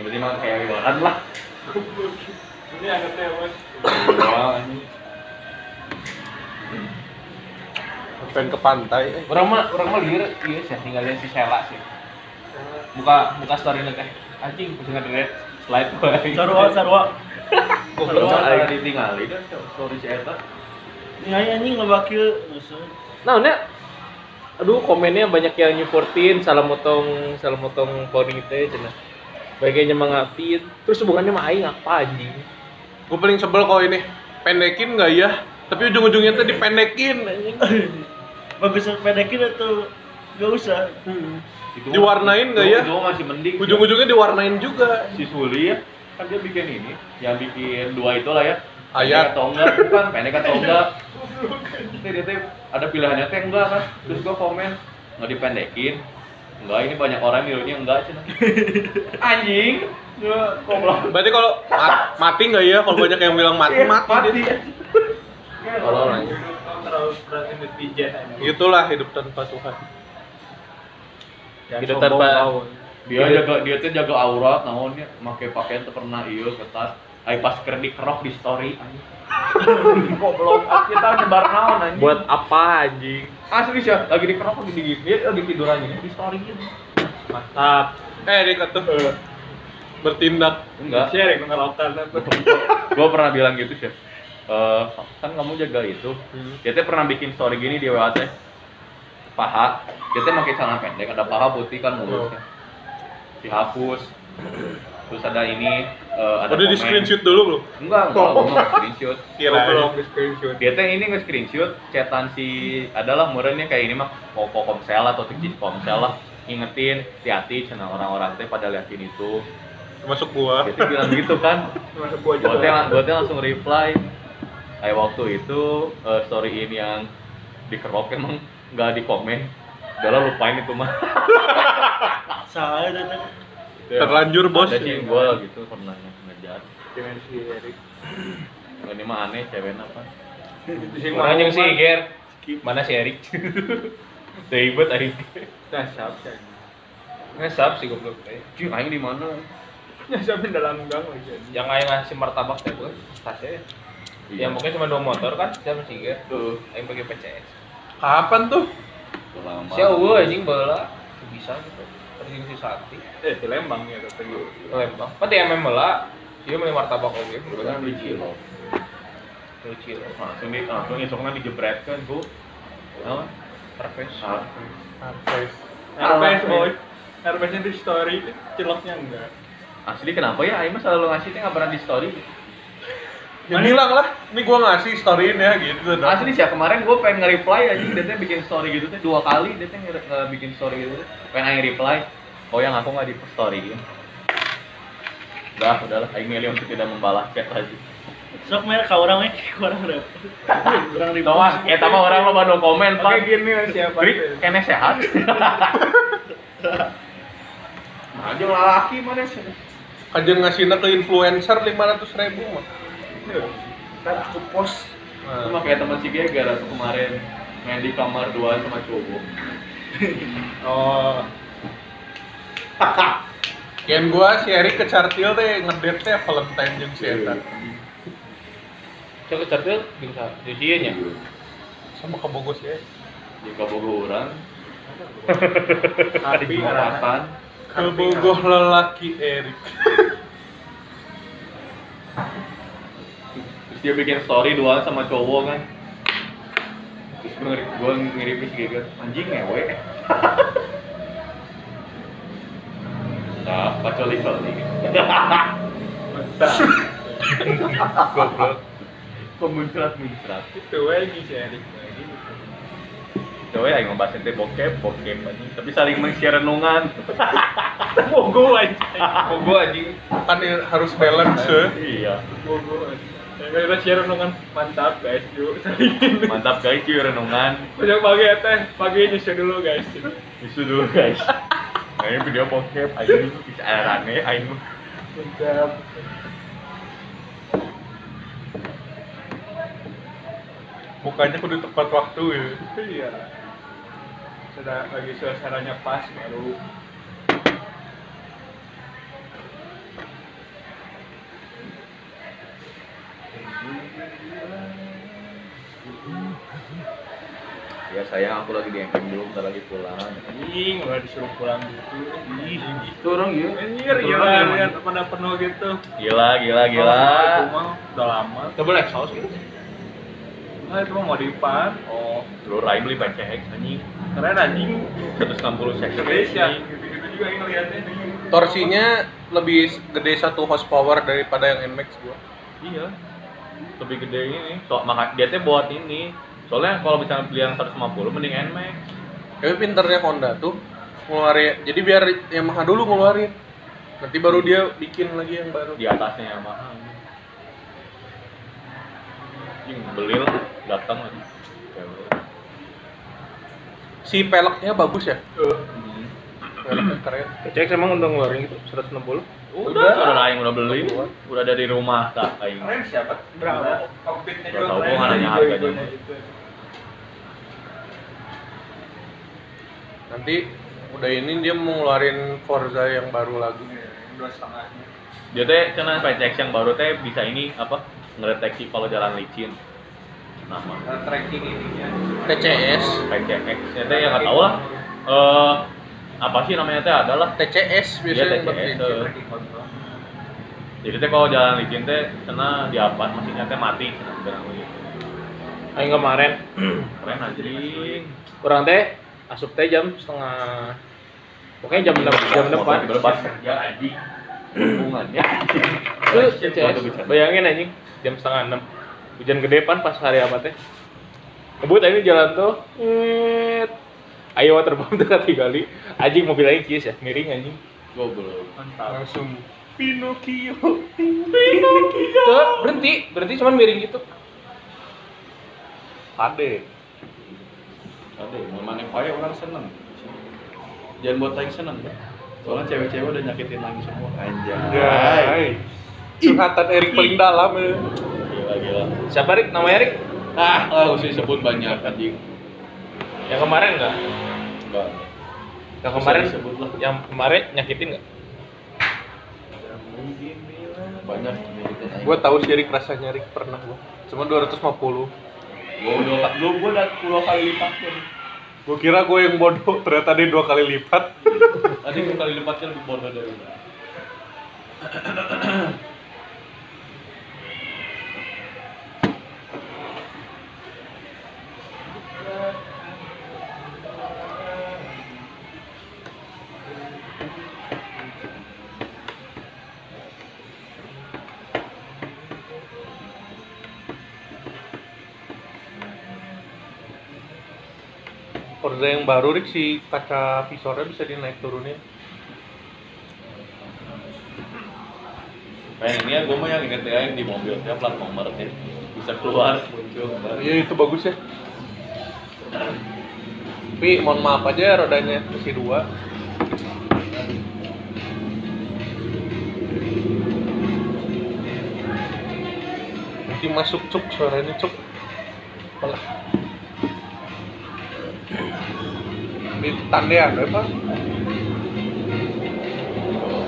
Yang penting mah kayak lebaran lah.
ini agak tewas
Lebaran.
Pengen ke pantai.
Orang mah orang mah liar, iya sih tinggalin si Sela sih. Buka buka story nanti. Anjing bisa ngeliat slide gua.
Sarua sarua.
Kalau ada ditinggalin, dah, story si Eta.
Ini aja anjing ngebakil musuh.
Nah, udah. Aduh, komennya banyak ya, yang nyeportin, salah motong, salah motong poni teh cenah. bagainya mengapit terus hubungannya sama aing apa anjing
Gue paling sebel kalau ini pendekin nggak ya? Tapi ujung-ujungnya tuh dipendekin. anjing.
Bagus pedekin atau nggak usah?
Itu mah-
Diwarnain nggak
itu-
ya?
Itu mah masih mending. sih.
Ujung-ujungnya diwarnain juga.
si Suli ya kan dia bikin ini yang bikin dua itulah ya
Ayat.
Pendek atau enggak bukan pendek atau enggak Terus dia tuh ada pilihannya tuh yang enggak kan terus gua komen nggak dipendekin enggak ini banyak orang nirunya enggak cina anjing gua goblok
Berarti kalau ma- mati nggak ya? Kalau banyak yang bilang mati, mati.
mati
kalau orang
terlalu perhatiin netizen aja.
Gitulah hidup tanpa Tuhan.
hidup tanpa
dia jaga dia tuh jaga aurat naonnya pakai pakaian tuh pernah iya kertas ayo pas kredit kerok di story anjing goblok Ah, kita nyebar naon anjing
buat apa anjing
Asli sih, lagi di kerok lagi di dia lagi tidur aja di story gitu.
mantap
Eh, dia kata bertindak.
Enggak.
share yang ngerotan
Gua pernah bilang gitu sih. Eh, kan kamu jaga itu. Dia tuh pernah bikin story gini di WA teh. Paha, dia tuh pakai celana pendek, ada paha putih kan mulutnya. Dihapus. Terus ada ini eh, ada
Udah di
komen.
screenshot dulu belum?
Enggak, enggak, gua nggak screenshot.
Kira belum.
Dia teh ini nge-screenshot chatan si adalah murennya kayak ini mah Poco Komsel atau Tikjik Komsel lah ingetin hati-hati channel orang-orang teh pada liatin itu
Masuk gua.
Jadi bilang gitu kan.
masuk gua aja
Gue teh gua teh langsung reply. Eh waktu itu eh, story ini yang dikerok emang nggak di komen. Udahlah lupain itu mah.
Salah itu kan.
Gitu ya.
Terlanjur bos.
Ada sih gue gitu pernah ngejar.
dimensi Erik
Ini mah aneh cewek apa?
itu sih
orang yang si
mau-
Ger mana si Erik
Teu ibet aing.
Nah, siap siap.
ngesap sih goblok eh.
Cuy aing di mana?
Ya, siapin dalam gang lagi anjing.
yang aing ngasih martabak teh gue tasnya
Iya.
ya yang mungkin cuma dua motor kan siapa si Ger
tuh
aing pakai PCS
Kapan tuh?
lama.
si Uwe anjing bola bisa gitu terus si Santi
Eh, di Lembang ya katanya.
lembang pati MM bola dia beli martabak oke
Kan
bukan
beli cilok.
lucu loh
Langsung di ah, langsung esoknya dijebretkan kan, bu. Apa?
terpes
Ah,
Eh,
Hermes boy. Hermesnya di story, ciloknya enggak.
Asli kenapa ya? Aing mah selalu ngasih teh nggak pernah di story.
Ya bilang lah, ini gua ngasih storyin ya gitu. dah.
Asli sih ya, kemarin gue pengen nge-reply aja dia teh bikin story gitu teh dua kali dia teh nge- nge- bikin story gitu teh. pengen aing reply oh yang aku nggak di story udah udahlah aing milih untuk tidak membalas chat lagi
Sok mereka ke orang mereka ke orang berapa? Orang ribu.
Toma, ah, ya tama orang lo pada komen
Oke,
pak
gini lah siapa?
Grik,
tuh.
kene sehat Nah, aja laki mana sih?
Kajian ngasihnya ke influencer 500 ribu mah.
Kan aku post
Cuma kayak teman si Geger aku kemarin main di kamar dua sama cowok.
Oh,
Kian gua si Erik ke Chartil teh ngedate teh Valentine jeung si
Iya.
Eta.
coba cerdas bisa ya? jadinya
Sama ke Bogor sih. eh.
Jika bogoran,
tapi
kawasan,
Ke Bogor lelaki Erik.
terus dia bikin story dua sama cowok kan terus gue ngiri, gue ngirimin si Geger gitu. anjing ya, ngewe nah pacoli coli
Goblok.
pemuncrat muncrat
itu lagi si Erik lagi.
cowok yang ngebahas ente bokep bokep anjing tapi saling meng-share renungan
Bogo aja.
oh gua anjing
Kan i- harus balance ya.
iya
Bogo aja. Yang kita share dengan ya, mantap guys, yuk. Sering.
mantap guys cuy renungan
Besok pagi ya teh, pagi nyusir dulu guys.
isu dulu guys nah ini video bokep anjing bisa aneh anjing
Mantap.
Mukanya kudu tepat waktu ya.
Iya. Sudah lagi suasananya pas baru.
ya sayang aku lagi di camping dulu bentar lagi pulang
Anjing, udah disuruh pulang gitu. Ih,
turun yuk
Anjir, gila, lihat mana penuh gitu.
gila gila gila
Kalau aku mah udah lama.
double exhaust gitu
Nah, itu mah modifan. Oh,
Lu Rai beli PCX anjing
keren anjing.
160 cc.
Indonesia. Gitu-gitu juga yang ngeliatnya.
Torsinya lebih gede satu horsepower daripada yang Nmax gua.
Iya. Lebih gede ini. So, maka dia tuh buat ini. Soalnya kalau misalnya beli yang 150 mending NMAX.
Tapi pinternya Honda tuh ngeluarin. Jadi biar Yamaha dulu ngeluarin. Nanti baru dia bikin lagi yang baru.
Di atasnya yang mahal. Anjing, beli lah, datang lagi.
Si peleknya bagus ya.
Hmm.
Peleknya keren.
Cek emang udah ngeluarin gitu 160.
Udah, saudara Aing udah beli, udah dari rumah tak Aing.
Keren siapa? Berapa? Kokpitnya
Gak
juga
tau,
keren.
gua nggak nanya
Hijau-hijaunya
harganya.
gitu.
Nanti udah ini dia mau ngeluarin Forza yang baru lagi.
Iya, yang Dua setengahnya.
Dia teh kena SpaceX yang baru teh bisa ini apa? Ngedeteksi kalau jalan licin. Nama
Nah, Tracking ininya.
TCS,
SpaceX. Ya teh yang nggak tahu lah. Eh apa sih namanya teh adalah
TCS biasanya
Iya,
yang buat
TCS,
gitu.
licin.
eh.
Tracking kontrol.
Jadi teh Ya, kalau jalan licin teh kena diapat mesinnya teh mati cenah barang gitu.
Aing kemarin
Keren anjing.
kurang teh asup teh jam setengah pokoknya jam enam jam depan
Motor dibebas kerja anjing. Hubungannya.
itu CS bayangin anjing jam setengah enam hujan gede pan pas hari ya. apa teh kebut ini jalan tuh Nyet. ayo waterbomb tuh kali kali anjing mobil aing kieu ya miring anjing
Goblok. Mantap.
Langsung
tuh berhenti berhenti cuman miring gitu
Ade. Ade, mau mana payah orang seneng. Jangan buat aing seneng ya. Soalnya cewek-cewek udah nyakitin aing semua. Ya, Anjay.
Hai. Curhatan Erik paling dalam. ya.
Gila gila.
siapa Rik namanya Rik
Ah, lah usah disebut banyak anjing.
yang kemarin enggak
Enggak.
yang kemarin
Usah disebut lah.
yang kemarin nyakitin enggak
Banyak nyakitin aing.
Gua tahu sih Erik rasanya Erik pernah gua. Cuma 250.
Gua udah gua gua udah puluh kali lipat kan.
Gua kira gua yang bodoh, ternyata dia dua kali lipat.
Tadi gua kali lipatnya lebih bodoh dari lu.
Forza yang baru Rik si kaca visornya bisa dinaik turunin.
Nah, ini ya gua mah yang inget ya yang di mobil dia plat nomor ya. Bisa keluar muncul.
Iya itu bagus ya. Tapi mohon maaf aja rodanya masih dua. Nanti masuk cuk suaranya cuk. Apalah. Di tandean apa?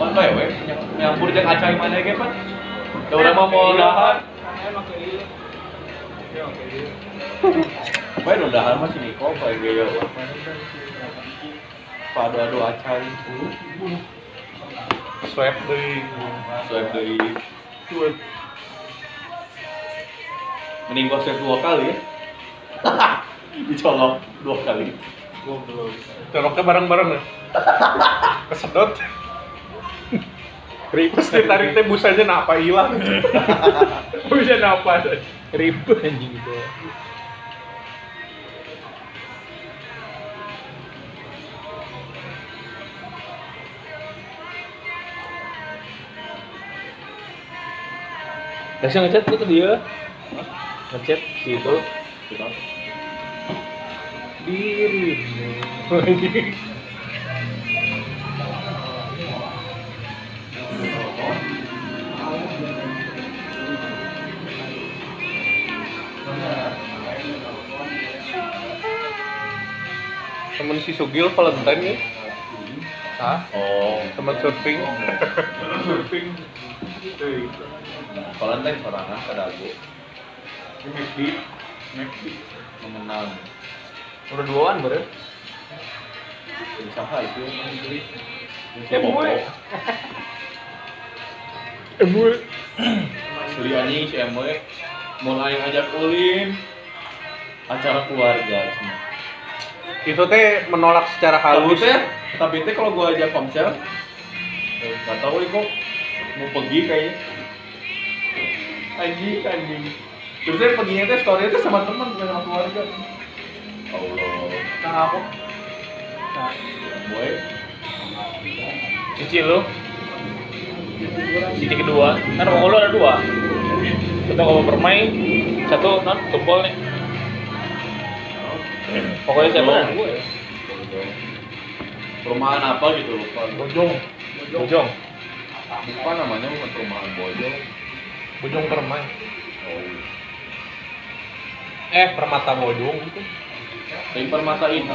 Pan bae we, ya, nyampur jeung acai mana ya, ge pan. Da urang mah mau dahar,
Karena emang kayak gitu. Iya, emang kayak gitu.
bae nu dahar mah si Niko bae ge ya. Padu adu acai.
Swab dari
Swipe dari mending gua swipe dua kali ya. Dicolok dua kali. Goblok.
coloknya bareng-bareng ya. Kesedot. Terus ditarik teh busanya napa hilang. Busanya napa.
ribet anjing gitu. itu Dasya ngechat tuh dia ngechat si itu dirimu
Temen si Sugil Valentine ya.
Hah?
Oh,
Temen surfing. surfing.
Valentine sorangan kada aku
Di McD. McD.
mengenal.
udah duaan baru
Jadi siapa itu?
Ya,
Bobo.
gue. eh gue
Asli anjing si Emoy mau aing ajak ulin acara keluarga semua.
Itu teh menolak secara halus.
Tapi teh, tapi teh kalau gua ajak komsel eh, nggak tahu nih kok mau pergi kayaknya anjing anjing terus saya perginya teh story itu sama teman bukan sama keluarga Allah
Nah, aku. Nah,
boy
Cuci lu. Cuci kedua. Kan rokok lu ada dua. Satu kopi permai, satu non gempol nih. Pokoknya saya
Belum.
mau gue. ya.
perumahan apa gitu lupa
Bojong. Bojong.
apa namanya bukan perumahan bojong
Bojong permai.
oh.
Eh, permata bojong gitu.
tapi permata ini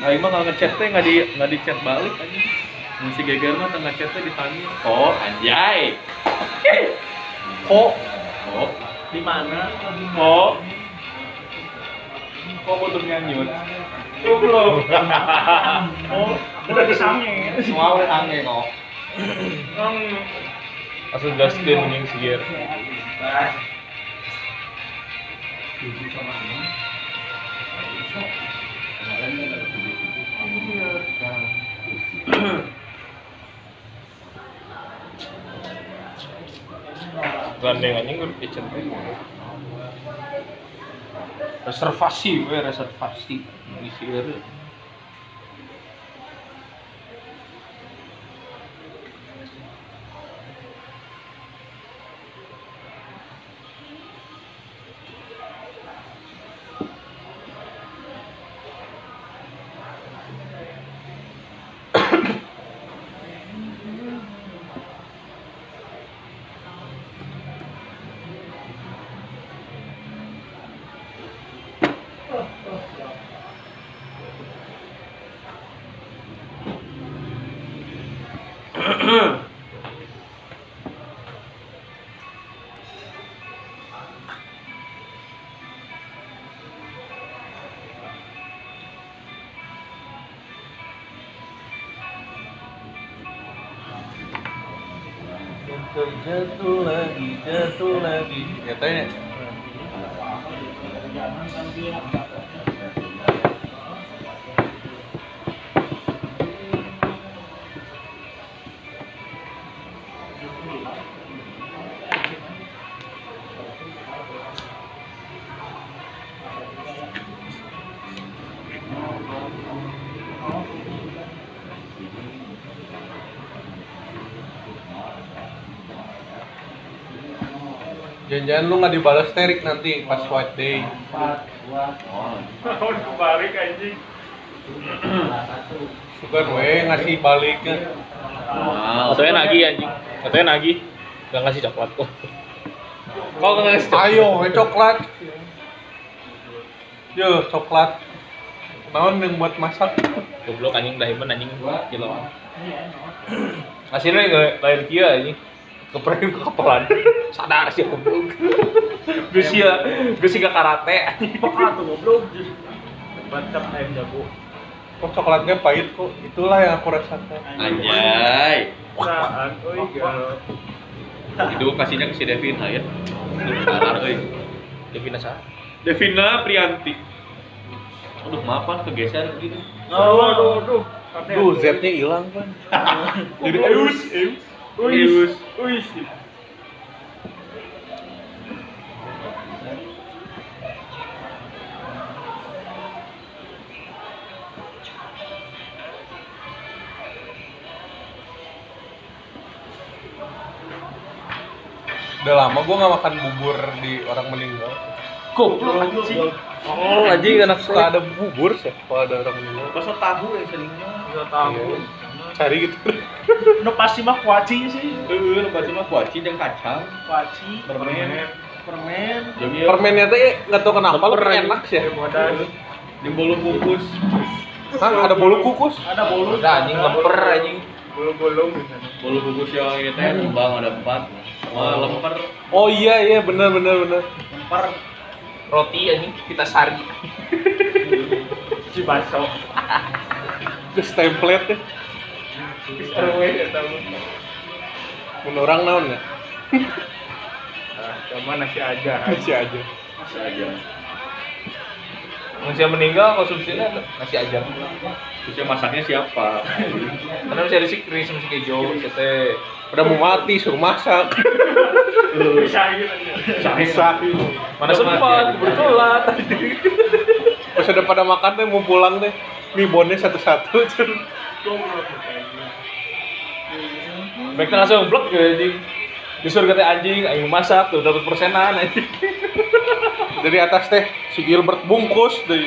Aing mah nggak ngechat teh nggak di nggak dicat balik aja. Masih geger mah tengah chat teh ditanya. Oh anjay. Oh. Kok? Kok?
di mana?
Kok? Kok butuh nyanyut? Goblok.
Oh, udah disangin.
Mau ange kok.
Langsung Justin anjing sigir. Gandeng anjing gue dicet.
Reservasi, we reservasi. Ngisi dulu.
Jatuh lagi, jatuh lagi. Ya tanya. Jangan-jangan lu nggak dibalas terik nanti pas white day.
Mau balik anjing.
Sugan we ngasih baliknya.
Nah,
Katanya nagih anjing. Katanya nagih. Gak ngasih coklat kok. Kok gak ngasih coklat?
Ayo, we coklat. Yo, coklat. Naon yang buat masak?
Goblok anjing dahiman anjing gila. Hasilnya lain kia anjing. Keperin ke kepalan. Sadar sih goblok. Geus ya, geus ke karate anjing.
Pokoknya tuh goblok. Bancap ayam jago.
Kok coklatnya pahit kok? Itulah yang aku rasakan.
Anjay.
Saan, oi galau.
Itu kasihnya ke si Devin aja. Karar euy.
Devina Sarah.
Devina Prianti. Aduh, maafan kegeser gitu.
Aduh, aduh, aduh.
Duh, Z-nya hilang kan.
Jadi Eus, Eus.
Uis, uis.
Udah lama gua nggak makan bubur di orang meninggal.
Goblok anjing. Oh, anjing anak
Suka
suka ada
ada bubur sih kalau ada orang meninggal.
Masa tahu ya seringnya.
Gak tahu.
Iya. hari gitu
Nu pasti mah kuaci sih.
Eh, lupa cuma kuaci dan kacang,
Kuaci,
permen,
permen.
jadi
permennya tuh ya, nggak tau kenapa lu
Leper aja.
enak sih ya
Modal.
di bolu kukus.
Hah, ada bolu kukus
Ada bolu.
Udah anjing leper anjing.
Bolu-bolu misalnya.
Bolu kukus yang ini teh kembang ada empat, sama lemper,
oh iya iya bener bener bener
Lemper,
Roti anjing kita sari.
cibaso.
terus template ya
Terwe atau
menurut orang naon ya
ah, sama nasi aja.
masih aja
masih aja.
Manusia meninggal konsumsinya nasi aja.
Terusnya masaknya siapa?
Karena masih ada sih kris masih
Iya,
kejo, sete.
udah mau mati suruh masak
Bisa gitu.
bisa
Mana sempat keburu telat.
pas udah pada makan teh mau pulang teh mie bonnya satu-satu cun.
Mereka langsung blok gitu anjing. Justru kata anjing, ayo masak tuh dapat persenan anjing.
dari atas teh si Gilbert bungkus dari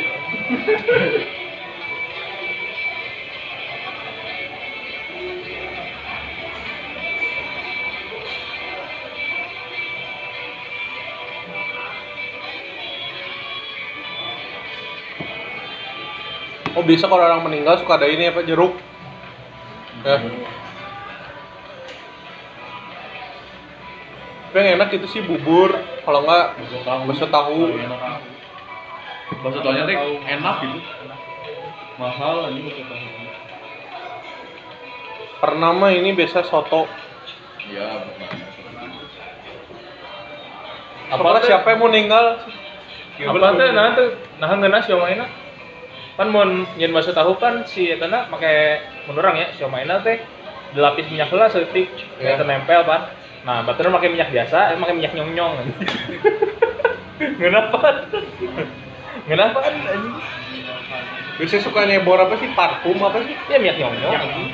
Oh biasa kalau orang meninggal suka ada ini apa jeruk. Ya. Tapi yang enak itu sih bubur, kalau enggak bakso tahu.
Bakso tahunya teh enak gitu. Mahal anjing bakso tahu.
Pernah mah ini biasa soto.
Iya, benar.
Apa Iya,
teh?
siapa yang mau ninggal?
Apa teh nah teh nah ngeuna siomayna. Pan Kan mun nyeun masuk tahu kan si eta na make mun urang ya siomayna teh dilapis minyak heula seutik
Ya.
yeah. nempel pan. Nah, baturan pakai minyak biasa, eh pakai minyak nyong-nyong. anjing. Ngeuna pan. Ngeuna pan anjing.
Biasanya suka nyebor apa sih? Parfum apa sih?
Ya minyak nyong-nyong. anjing.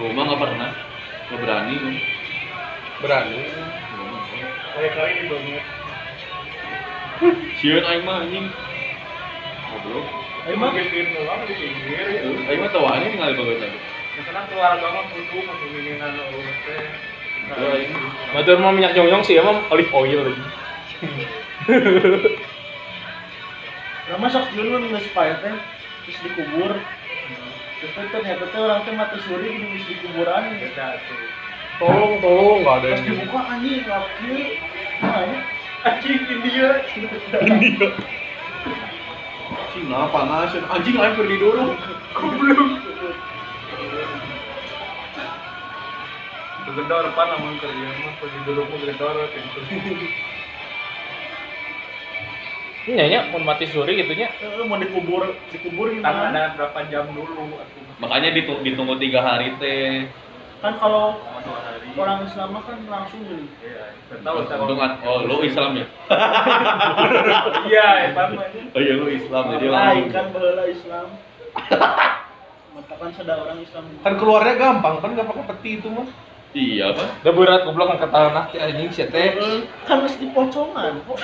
Gua mah nggak pernah, nggak berani. gua.
Berani.
Gua mah nggak pernah.
Kali-kali di banget.
Sieun aing mah anjing. Goblok.
Emang gituin doang di pinggir. ya.
Aing mah tawa anjing ningali bagus aja.
Karena keluar banget kudu kepemimpinan urut teh.
Itu Iya, aing.
Batur mah minyak nyong-nyong sih emang olive oil lagi.
Lama sok dulu nggak supaya teh terus dikubur. Terus tuh ternyata tuh orang teh mati suri di di kuburan gitu.
Tolong, tolong, nggak ada
Terus
yang
dibuka anjing laki. Nah, ya.
Anjing India.
Anjing kenapa ngasin? Anjing aing pergi dulu.
Gedor pan namun kerja mah pergi dulu pun gedor pintu.
Ini nyanyi Iya, mun mati suri gitu nya.
Eh, mau dikubur, dikubur
Kan
gimana?
ada berapa jam dulu aku
Makanya ditu- ditunggu tiga hari teh.
Kan kalau
sama dua hari.
orang Islam mah kan langsung jadi
Iya, nggak tahu tahu.
Untung an- oh lu Islam ya?
Iya, pan mah ini.
Oh iya lu Islam jadi
lain
langsung.
kan bahwa Islam. Matakan sedang orang Islam.
Kan keluarnya gampang, kan nggak pakai peti itu mah.
Iya apa?
Da berat goblok angkat tanah teh anjing sia teh.
Eh, kan mesti pocongan. Oh,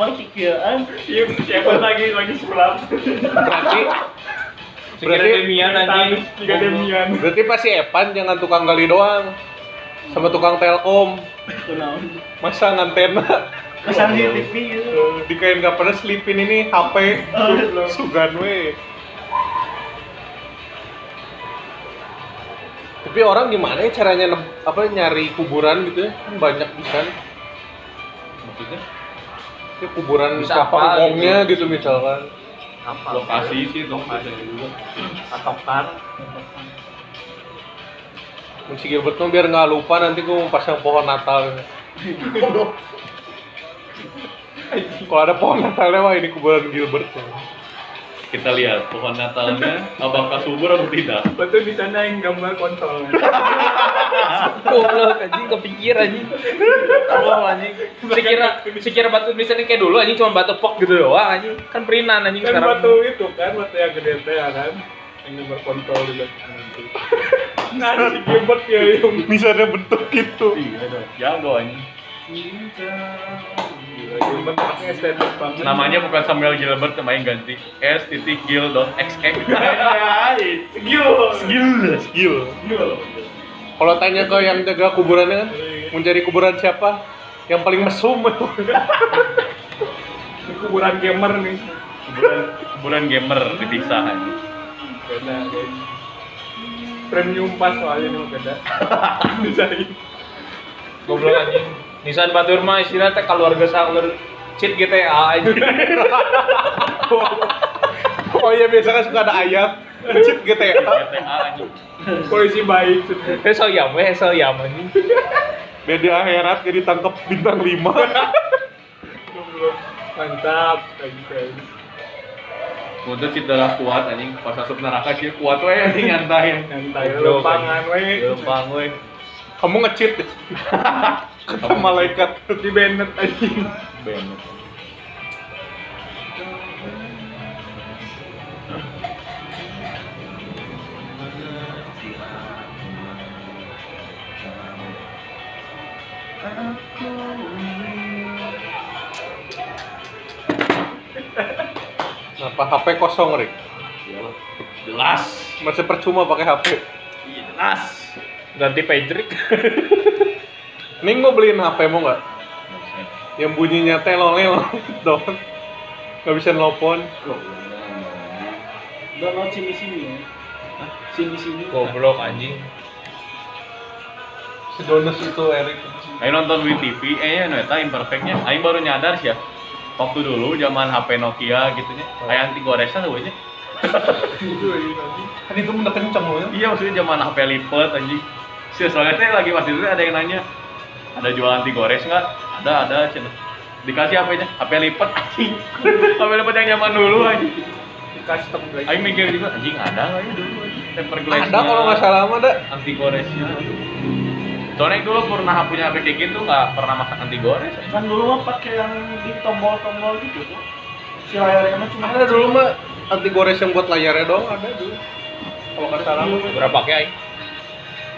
Mau kikiaan.
Iya, siapa lagi lagi sulap.
Berarti
Sekira demian anjing.
Tiga demian.
berarti pasti Evan jangan tukang gali doang. Sama tukang telkom,
Kenaun.
masang antena
Kesan di TV gitu.
di kain nggak pernah selipin ini HP sugan we. Tapi orang gimana ya caranya nem- apa nyari kuburan gitu ya? Kan banyak pisan.
Maksudnya
Ya kuburan
Bisa apa
siapa ngomongnya gitu misalkan.
Apa?
lokasi sih dong biasanya juga.
Atau par?
Kunci Gilbert mah biar nggak lupa nanti gue mau pasang pohon Natal. Kalau ada pohon Natalnya wah ini kuburan Gilbert.
Kita lihat pohon Natalnya apakah subur atau tidak.
Betul di sana yang gambar kontol.
Goblok anjing kepikir anjing. Goblok anjing. Sekira sekira batu tulisannya kayak dulu anjing cuma batu pok gitu doang anjing. Kan perinan anjing
kan
sekarang.
batu itu kan batu yang gede teh ya kan yang berkontrol juga nanti nah si gebet ya yang
Misalnya bentuk gitu.
Iya dong. Jago anjing.
Gilbert pakai estetik banget.
Namanya bukan Samuel Gilbert, namanya ganti S titik Gil dot XX. eh,
Skill, skill. Kalau tanya ke yang jaga kuburannya kan, mencari kuburan siapa? Yang paling mesum.
Ini kuburan gamer nih.
Kuburan, kuburan gamer dipisah. anjing.
Beda guys. Premium pas soalnya nih beda.
Goblok anjing. Nisan Batur mah istilah teh keluarga sakleur cheat GTA anjing.
Oh iya biasanya suka ada gitu ayat. Cheat GTA.
GTA anjing.
Polisi baik.
Hesel yam, we, hesel yam ya, anjing.
Beda akhirat jadi tangkap bintang 5.
Mantap. Thank you.
Untuk cheat darah kuat anjing, pas masuk neraka cheat kuat we anjing nyantain.
Nyantai
Goblok,
lempangan we.
Lempang we.
Kamu nge-cheat ya? Kata malaikat.
Di Bennett anjing.
Bener.
Kenapa HP kosong, Rick?
Iyalah. Jelas.
Masih percuma pakai HP.
Iya, Jelas.
Ganti Patrick.
Ning mau beliin HP mau nggak? Yang bunyinya telong lelong dong. Gak bisa nelpon.
download sini sini ya sini sini
Goblok anjing.
Sedonus itu Erik.
Ayo nonton WTV, eh ya neta imperfectnya. Ayo baru nyadar sih ya. Waktu dulu zaman HP Nokia gitu nya,
Oh.
kayak anti goresan tuh aja.
Kan itu udah kenceng loh ya.
Iya maksudnya zaman HP lipat anjing. Sih soalnya teh lagi pas itu ada yang nanya, ada jual anti gores nggak? Ada ada cina. Dikasih HP-nya, HP lipat anjing. HP lipat yang zaman dulu anjing.
Di custom guys.
Ayo mikir juga anjing ada nggak ya dulu anjing. Temper glass.
Ada kalau nggak salah mah ada.
anti goresnya. Soalnya dulu pernah punya HP kayak gitu nggak pernah masak anti gores. anjing.
kan dulu mah pakai yang di tombol-tombol gitu tuh si layarnya mah cuma
Ada dulu mah anti gores yang buat layarnya doang ada dulu. Kalau nggak salah mah.
Berapa kayak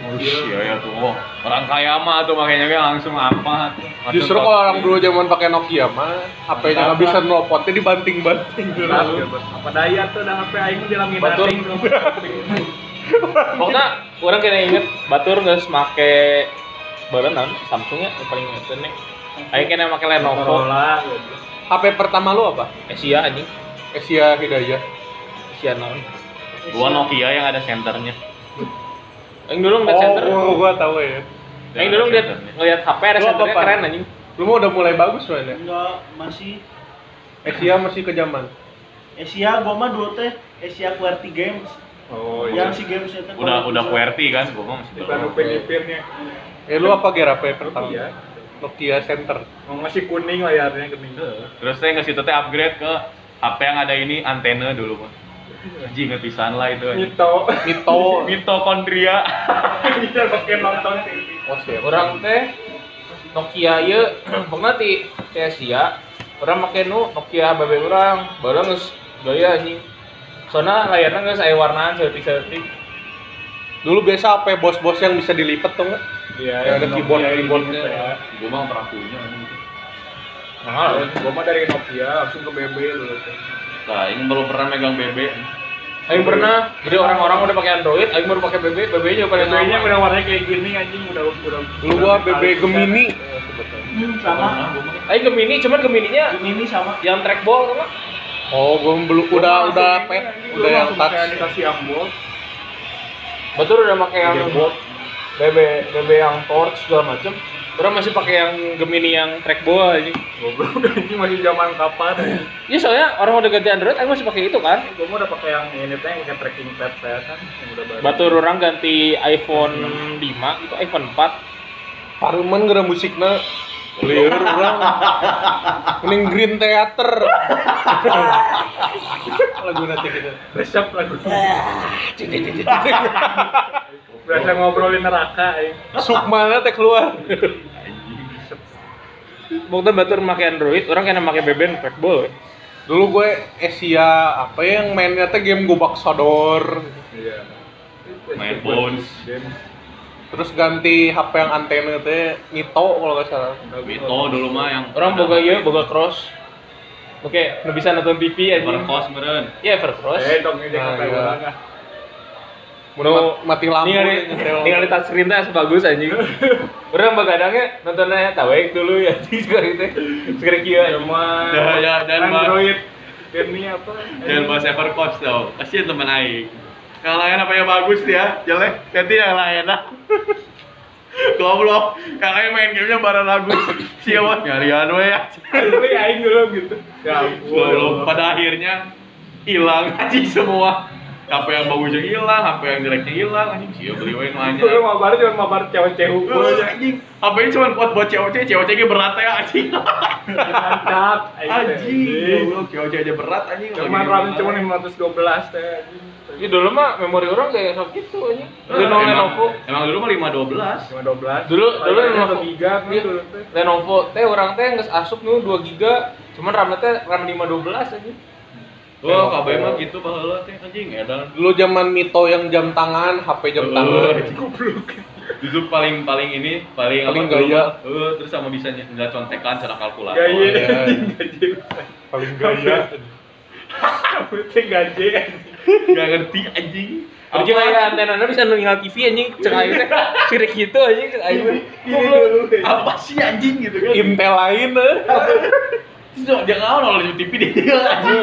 anjing?
Iya ya tuh, oh, orang kaya mah tuh makanya dia langsung apa? langsung
Justru
top.
kalau orang dulu zaman pakai Nokia mah HP-nya nggak bisa nelponnya dibanting-banting
Iya,
dulu.
Apa daya tuh ada HP aing di langit
Batur.
ating.
Pokoknya orang kena inget Batur nggak make barengan Samsung ya yang paling ngeten nih. Aing kena make Lenovo.
Motorola.
HP pertama lu apa?
Asia anjing.
Asia Hidayah.
Asia naon.
Eh,
Gua Nokia yang ada senternya.
Aing
Oh.
dulu ngeliat center.
gua, gua tahu ya.
Aing dulu ngeliat ngeliat HP ada
Lu
centernya
apa, Pan?
keren anjing.
Lu mah udah mulai bagus mainnya.
enggak masih
Asia masih ke zaman.
Asia gua mah dulu teh Asia QWERTY Games
Oh
yang
iya.
si gamesnya teh
udah
kalau
udah
bisa-
QWERTY kan, gua mah masih
Bukan
belum.
upin-ipinnya.
Eh lu apa gear HP pertama?
Iya.
Nokia Center.
Mau masih kuning layarnya kuning.
Iya,
Terus saya ngasih tete upgrade ke HP yang ada ini antena dulu mah. Anjing nggak pisan lah itu. anjing.
Mito.
Mito.
Mitokondria.
Bisa pakai nonton TV.
Oh, siapa?
Orang teh Nokia ieu pokoknya ti ti Asia orang make nu Nokia babe orang bareng geus gaya anjing. Soalnya layarnya geus aya warnaan seutik-seutik.
Dulu biasa HP bos-bos yang bisa dilipat tuh nggak?
Iya,
Yang ada keyboard keyboardnya.
gitu ya.
Gua mah pernah punya. anjing.
Mahal.
Gua mah dari Nokia langsung ke BB dulu.
Nah, ini belum pernah megang BB.
Aing pernah, jadi orang-orang udah pakai Android, aing baru pakai BB, BB nya paling
BB-nya
lama.
udah warnanya kayak gini anjing udah udah.
Iya, Dulu gua BB Gemini.
Gak
hmm, sama
pernah gua mah.
Aing Gemini, cuman Gemininya
ini sama
yang trackball tuh mah.
Oh, gua belum udah
Langsung
udah
ini,
pet,
anjing,
udah
gua
yang
langsung kayak
touch.
dikasih ambol.
Betul udah pakai yang
Gamebot.
BB BB yang torch segala macem. Orang masih pakai yang Gemini yang trackball aja.
Goblok anjing masih zaman kapan? anjing.
Iya soalnya orang udah ganti Android, aing masih pakai itu kan.
Gua mah udah pakai yang ini teh yang pakai tracking pad saya kan yang udah baru.
Batur orang ganti iPhone 5 itu iPhone 4
Paruman gara musiknya Liur orang Mending Green Theater Lagu nanti gitu
Resep lagu. Berasa ngobrolin neraka anjing.
Sukmana teh keluar
Bukti batur pakai Android, orang kena pakai BB yang trackball.
Dulu gue Asia apa yang mainnya teh game gobak sodor
Iya.
Main bones.
terus ganti HP yang antena teh Nito kalau nggak salah
Bito dulu mah yang
orang boga ieu boga cross oke nu bisa nonton TV anjing
Evercos meren.
ya Evercross
Eh, dong, ini
Nah,
kata
iya.
orang ah.
Menurut mati lampu
ningali ningali tas rinta sebagus anjing orang begadangnya nontonnya tawek dulu ya anjing sekarang itu sekarang kieu anjing
Ya ya dan
Kan
mah
Android. Dan ini apa?
Jangan bahas Evercost dong. Kasihan teman aing. Yang lain apa yang bagus dia? Jelek. Ganti yang lain lah. ya, Goblok. Yang lain main gamenya barang bagus. Siapa? Nyarian we ya.
Tapi aing dulu gitu. Ya
Goblok. Pada akhirnya hilang aja semua. HP yang bagusnya hilang, HP yang jeleknya hilang, anjing siapa beli we yang
Dulu
lainnya.
mabar cuma mabar cewek-cewek.
Eh, Anjing, HP ini cuma buat buat COC, COC nya berat ya anjing.
Mantap. aing teh.
Anjing, goblok COC aja berat anjing.
Cuman RAM cuma 512 teh. anjing.
Ini dulu mah memori orang kayak sok gitu anjing. Dulu
Emang,
Lenovo.
emang dulu mah 512.
Cuma 12.
Dulu dulu
Paling
Lenovo.
satu giga kan
Iya.
dulu teh.
Lenovo teh orang teh geus asup nu 2 giga, cuman RAM-nya teh RAM 512 anjing.
Wah, KB mah gitu baheula teh anjing edan.
dulu zaman Mito yang jam tangan HP jam tangan
Heeh. Itu paling paling ini paling
Paling
dulu
gaya.
mah, Heeh, terus sama bisa ny- nggak contekan cara kalkulator.
Gaya.
Iya, iya. paling iya. gaya
Penting gaje.
Nggak ngerti anjing.
Jadi
ya?
kayak antena bisa ninggal TV anjing cek aing teh. Sirik gitu anjing cek aing. teh.
Ini dulu. eh.
Apa sih anjing gitu kan?
Intel lain eh.
Terus dong, jangan awal di TV deh anjing.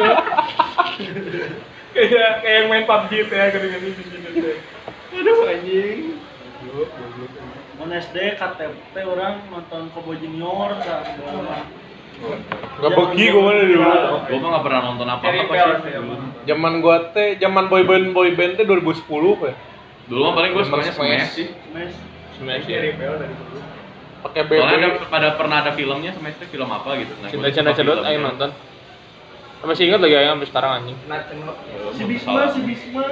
Kayak kayak yang main PUBG teh gini-gini gini teh.
Aduh anjing.
Mun SD KTP orang nonton Kobo Junior kan.
nggak begi gue mana dulu
Gua mah nggak pernah nonton apa
Harry
apa
Bell
sih.
sih emang.
Iya.
Hmm.
zaman gua teh zaman boyband boyband teh 2010 ya
Dulu mah paling gua
Zaman
sukanya
Smash.
Smash sih.
Mes
Harry Bell dari dulu.
pakai BB
Soalnya ada, pada pernah ada filmnya Smash teh film apa gitu. Nah,
Cinta
gua
Canda
suka
Cedot
filmnya.
aing nonton. Masih ingat lagi aing sampai sekarang anjing.
Nah, cenok.
Heeh,
Si
gua
Bisma,
Iya, salah.
si Bisma.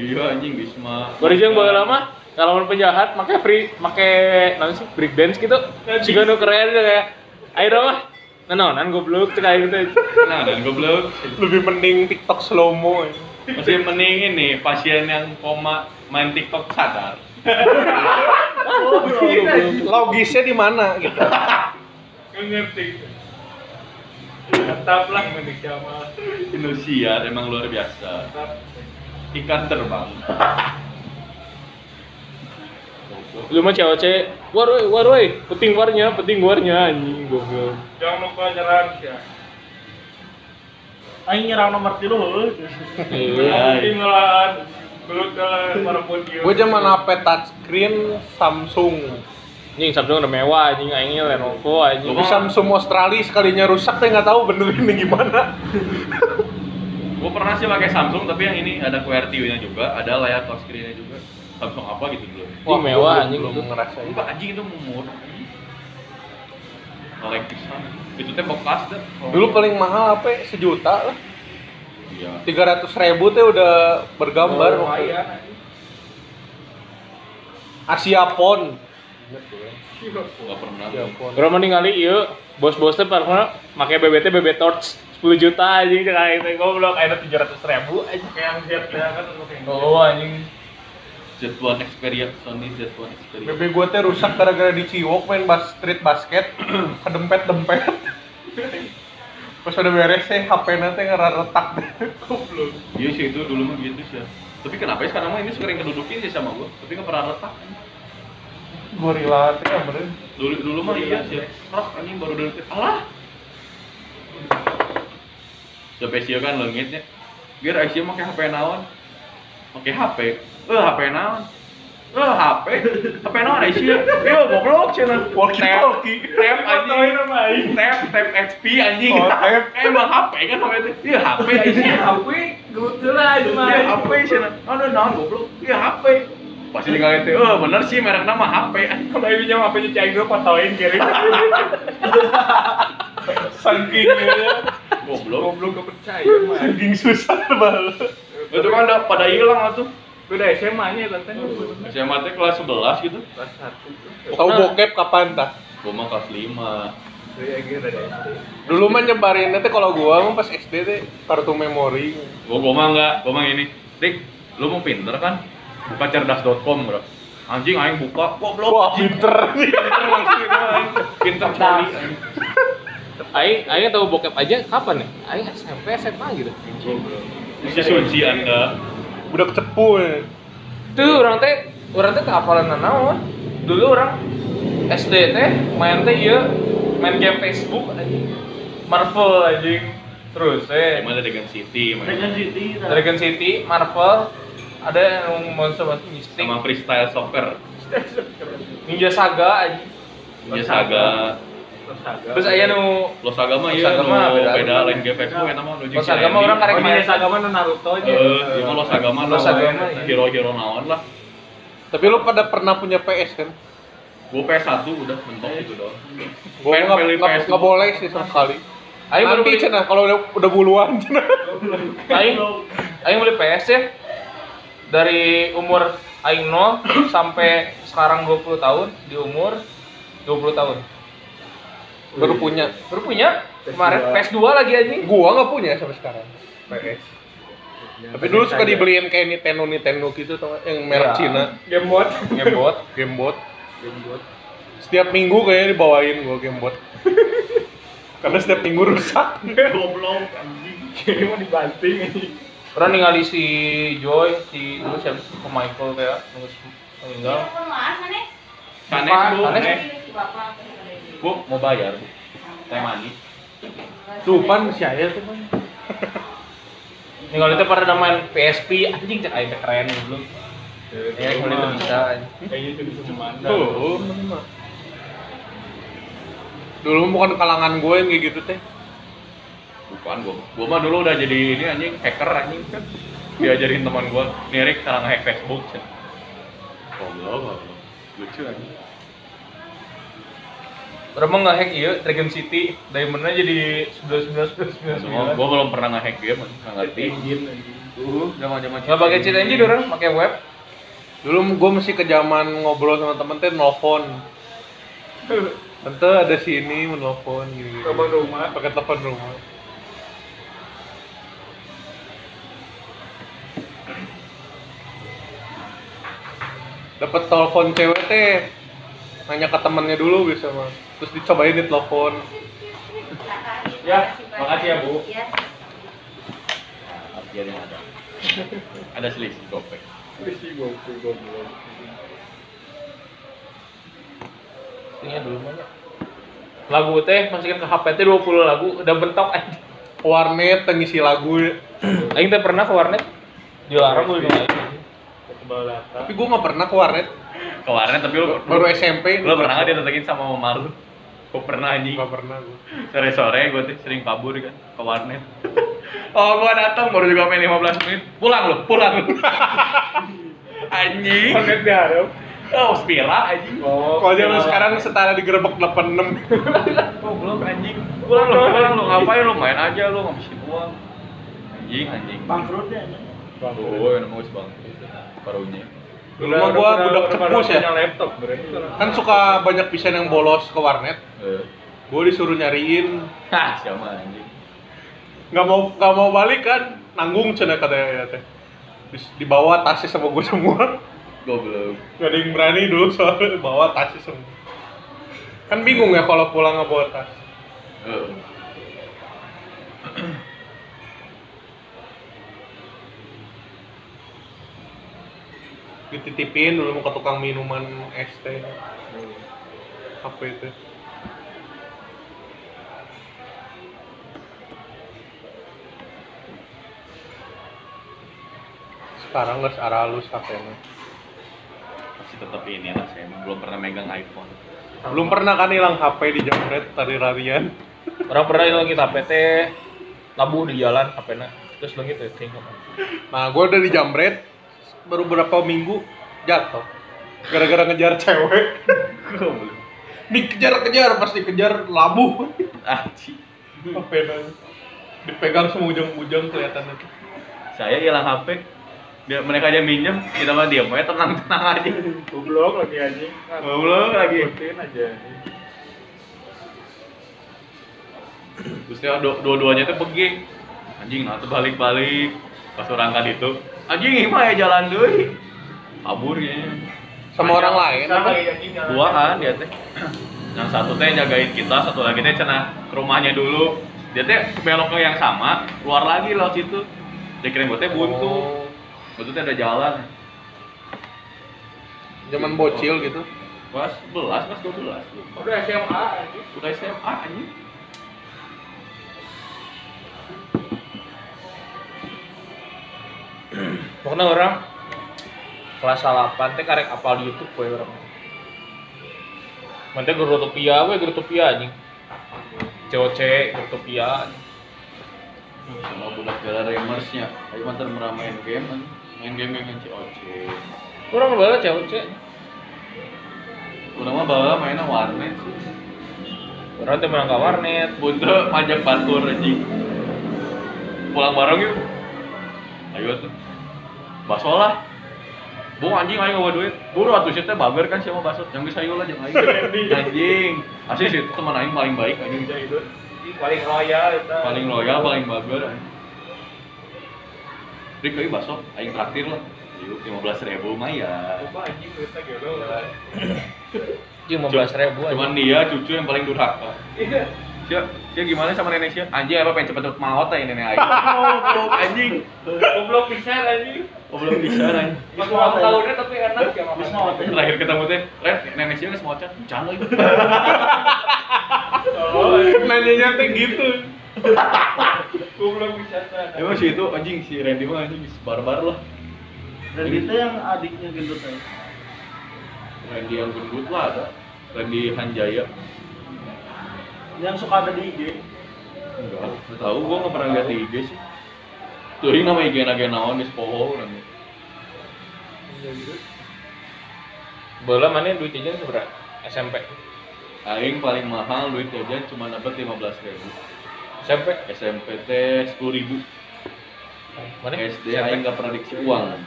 Iya anjing Bisma.
Baru
Iya.
jeung bae lama ngalamin penjahat make free make naon sih break dance gitu. Siga nu keren teh kayak Ayo mah nanonan goblok cek aing teh.
Nah, dan goblok.
lebih mending TikTok slow mo ya.
Masih mending ini pasien yang koma main TikTok sadar.
Iya. logisnya di mana gitu
Nggak ngerti. Mantap lah Mendik Jamal.
Indonesia emang luar biasa.
Mantap.
Ikan terbang.
Lu mah COC, war woi, war woi, penting warnya, penting warnya anjing goblok.
Jangan lupa nyerang ya.
Aing nyerang nomor 3 heuh.
Iya.
Hai.
Ini ngelawan belut ngelawan para podium.
gue zaman HP touchscreen Samsung
Anjing Samsung udah mewah anjing aingnya Lenovo anjing.
Tapi Samsung Australia sekalinya rusak teh nggak tahu benerin ini gimana
Gue pernah sih pakai Samsung tapi yang ini ada QWERTY-nya juga, ada layar touchscreen-nya juga. Samsung apa gitu dulu.
Wah, mewah,
belum-
anjing.
Iya, belum ngerasain
Enggak anjing itu murah. Kolek pisan. Itu teh bekas deh.
dulu paling mahal apa ya? sejuta lah
Iya.
tiga ratus ribu teh udah bergambar
Oh,
waktu itu.
iya.
Asia Pon
Enggak pernah.
Iya.
Orang mending kali ieu bos-bosnya pernah make BBT BB torch 10 juta anjing gitu. cek aing teh goblok aing tujuh ratus ribu anjing.
Kayak yang jet ya kan untuk yang
Oh anjing.
Z1 Experience, Sony Z1 Experience.
BB gue teh rusak gara-gara diciwok main bas street basket kedempet-dempet pas udah beres teh HP nanti ngeraretak
goblok.
Iya sih itu dulu mah gitu sih. ya. Tapi kenapa ya sekarang mah ini sering kedudukin sih sama gua, tapi nggak pernah retak.
gorila teh bener
Dulu dulu mah iya sih. Rock anjing baru dari alah. Sampai sih kan leungitnya. Biar Aisyah make HP naon? Make HP. Eh HP naon? Eh HP. HP naon Aisyah? Yo goblok cenah.
walkie talkie
Tap
Fotoin
anjing.
sama aing.
Tap tap HP anjing. Eh,
Oh, tap.
Emang HP kan HP itu. Iya HP
Ini
Aisyah.
HP gelut lah cuma.
Iya HP sih, nah, nah, nah, goblok, iya HP. Pasti tinggal itu, oh bener sih merek nama HP.
Kalau ibu nyam HP-nya Cai gue fotoin kirim.
saking
Goblok.
ya. Goblok gak percaya mah.
saking susah banget
Itu kan udah pada hilang tuh.
Udah SMA-nya lantai
SMA teh kelas 11 gitu.
kelas 1.
tahu bokep kapan tah
Gua mah kelas 5.
Saya kira dari SD.
dulu mah nyebarinnya teh kalau gua mah pas SD teh kartu memori
Gua gua mah enggak, gua mah ini. Dik, lu mau pinter kan? Buka cerdas.com, Bro. anjing aing buka goblok
Wah,
anjing.
pinter.
pinter langsung itu aing pinter
Nah.
coli anjing.
Aing, Aing tahu bokep aja kapan ya? Aing SMP, SMA gitu.
bisa suci anda
Budak cepu ya.
Tuh orang teh orang teh keapalan naon. Dulu orang SD teh main teh iya main game Facebook anjing. Marvel anjing. Terus eh
gimana dengan City main.
Dragon City nah.
Dragon City, Marvel, ada yang monster monster mistik,
sama freestyle soccer
Ninja Saga anjing.
Ninja Iya, Saga
Terus anu, aya nu
Los Agama
Los
ya,
Agama
no
beda.
beda lain game Facebook eta mah nuju
Los Agama orang karek
Oh, di
main.
desa agama nu Naruto aja.
Eh, cuma
iya.
Los Agama
Los
lah,
Agama,
ya.
iya.
hero-hero naon lah.
Tapi lo pada pernah punya PS kan?
Gua PS1 udah mentok gitu doang.
Gue
Pengen
nggak
beli
nggak-
PS2.
nggak boleh sih sama sekali.
Ayo baru
Nanti
beli,
cina kalau udah udah buluan cina.
aing aing beli PS ya. Dari umur aing nol sampai sekarang 20 tahun, di umur 20 tahun.
Baru punya.
Baru punya kemarin PS2 lagi anjing.
Gua nggak punya sampai sekarang.
PS.
Tapi dulu suka dibeliin kayak Nintendo Nintendo gitu tau nggak? yang merek
Ya.
Cina,
Gamebot.
Gamebot.
Gamebot. Setiap minggu kayaknya dibawain gua Gamebot. Karena setiap minggu rusak.
Goblok anjing. Ini mau dibanting anjing.
Orang ningali si Joy, si dulu siapa sih, si Michael kayak nunggu meninggal.
Sanes
Apa?
Bu,
Sanes?
Sanes. Bu, mau bayar. Teh manis.
Tuh pan si Ayah tuh pan.
Ningali teh pada main PSP anjing cek aing teh keren dulu. Ya, kalau itu bisa. anjing.
Kayaknya itu bisa
Nah,
memandang.
Tuh. Dulu bukan kalangan gue yang kayak gitu teh.
Bukan gua. Gua mah dulu udah jadi ini anjing hacker anjing. kan. Diajarin teman gua, Nirik cara nge-hack Facebook. cen. Goblok, goblok. Lucu anjing.
Orang mah ngehack iya Dragon City dari mana jadi 19 19
Semua
19.
gua belum pernah nge-hack game, anjing. nggak ngerti.
Anjing anjing.
Uh, zaman-zaman
Enggak pakai cheat engine orang, pakai web.
Dulu gue masih ke zaman ngobrol sama temen teh nelfon. Tante ada si ini menelpon gini. -gini.
Telepon rumah.
Pakai telepon rumah. Dapat telepon cewek teh. Nanya ke temannya dulu bisa mah. Terus dicobain di telepon.
Ya, makasih ya, Bu.
Artinya ada. ada selisih gopek.
Wih, si goblok goblok.
Ini Iya, dulu mana? Lagu teh masukin ke HP teh 20 lagu udah bentok anjing.
Warnet ngisi lagu.
Aing teh pernah ke warnet dilarang gue bilang aing.
Kebalatan.
Tapi gue nggak pernah ke warnet.
Ke warnet tapi lu
Baru SMP.
Lo pernah nggak didatengin sama Mama lu? Gue pernah anjing.
Nggak pernah gue.
Sore-sore gue tuh sering kabur kan ke warnet. oh gue datang baru juga main 15 menit. Pulang lu, pulang lu. anjing.
Paket diharap.
Oh, spira anjing.
Oh,
Kalau zaman sekarang setara digerebek 86.
Goblok anjing. Pulang lu, pulang lu. Ngapain lu? Main aja lu, nggak mesti uang. Anjing, anjing.
bangkrutnya anjing.
Oh, emang gue sebang. Parunya.
Dulu mah gua budak cepus ya.
Punya laptop, berarti.
Kan suka banyak pisan yang bolos ke warnet.
Eh,
Gue disuruh nyariin.
Hah, siapa anjing?
Nggak mau nggak mau balik kan. Nanggung cina katanya ya teh. Terus Dibawa tasnya sama gue semua.
Goblok.
Gak ada yang berani dulu soalnya bawa tasnya semua. Kan bingung ya kalau pulang nggak bawa tas. Oh.
Eh.
Dititipin dulu mau ke tukang minuman es teh. Apa itu? Sekarang nggak searah halus HP-nya.
Masih tetap ini lah saya emang belum pernah megang iPhone.
Belum pernah kan hilang HP di jamret tadi larian.
Orang pernah hilang kita HP teh labuh di jalan HP-na. Terus lagi teh tinggal.
Nah, gue udah di jamret baru berapa minggu jatuh. Gara-gara ngejar cewek.
Goblok.
Dikejar-kejar pasti kejar labuh.
Anjing.
HP-nya. Dipegang semua ujung-ujung kelihatannya.
saya hilang HP dia, mereka aja minjem kita mah diam aja tenang tenang aja
Goblok lagi anjing.
Goblok lagi.
Ngikutin Nah, aja. anjing.
terusnya do- dua-duanya tuh pergi anjing nah tuh balik-balik pas orang kan itu anjing ini mah ya jalan deh kabur ya
sama
Banyak.
orang lain
Sama.
dua kan dia teh yang satu teh jagain kita satu lagi teh cenah ke rumahnya dulu dia teh belok ke yang sama keluar lagi lewat situ dia kira gue teh buntu
Oh,
buntu teh ada jalan
zaman bocil gitu
kelas 11 kelas 12 lupa.
Udah SMA aja.
udah SMA anjing
Pokoknya orang kelas 8 teh karek apal YouTube poe orang.
Mantep guru topia, we guru topia anjing. COC, guru topia.
sama budak jalan remersnya ayo mantan meramain game anjing. main game game yang COC
Orang bala COC.
udah mah bawa mainnya warnet sih
Orang teh menang ke warnet.
buntu panjang parkur anjing pulang bareng yuk ayo tuh baso lah Bung anjing ayo ngawa duit buru atuh sih teh bager kan siapa baso jangan bisa lah jangan ayo anjing asli sih itu teman aing paling baik anjing itu
Ini paling royal itu
paling loyal paling bager anjing Rik ayo baso aing traktir lah yuk lima belas ribu ya. maya
Coba anjing kita gitu
Cuma 15 ribu
cuman dia cucu yang paling durhaka
Iya,
Sia, Sia gimana sama nenek Sia? Anjing apa pengen cepet-cepet maot aja nenek aing. Goblok anjing.
Goblok pisan anjing.
Goblok pisan anjing.
Pas ulang tahunnya tapi enak ya
Terus
makan.
mau
terakhir ketemu teh Ren nenek sih nggak semua cat jangan lagi Oh,
nanyanya teh gitu
Goblok wisata
emang si itu anjing si Randy mah anjing si barbar lah
Dan itu yang adiknya gendut eh. aja.
Randy yang gendut lah ada Randy Hanjaya
Yang suka ada di IG.
enggak nggak tahu gua nggak pernah lihat di IG sih tuh ini nama IG naga naon di Spoho nanti
Bala mana duit jajan seberapa? SMP.
Aing paling mahal duit jajan cuma dapat lima belas ribu
SMP.
SMP teh sepuluh ribu
Mana?
SD Aing nggak pernah dikasih uang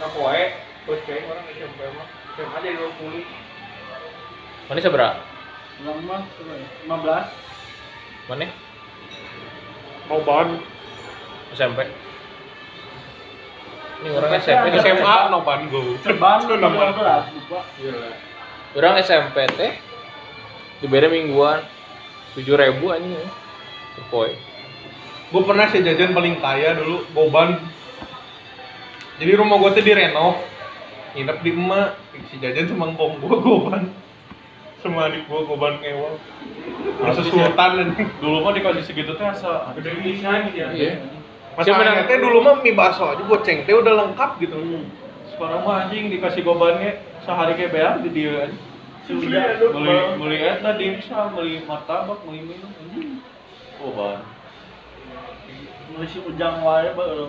Nah koe Boceng orang SMP mah SMA jadi 20
Mana seberapa?
Ulang mah coba ya.
Mana?
mau ban
SMP. Ini orang
Tapi
SMP.
ada-
SMA no ban go
15. Ceban lu
Ceban.
15 lupa.
Orang SMP teh dibayar mingguan tujuh ribu anjing. ya. Pokoknya.
gue pernah sih jajan paling kaya dulu goban jadi rumah gue tuh direnov nginep di emak si jajan sama ngkong gue goban sama adik gue goban ngewal rasa sultan anjing.
dulu mah dikasih segitu teh asa
Gede pisan ya
Iya. Siapa yang-
masalahnya teh dulu mah mie bakso aja goceng teh udah lengkap gitu
sekarang mah anjing dikasih gobannya sehari kayak bayar di dia anjing.
Iya,
Sudah.
beli beli eh. et lah dimsum beli martabak beli minum anjing oh ban
Masih ujang wae bae.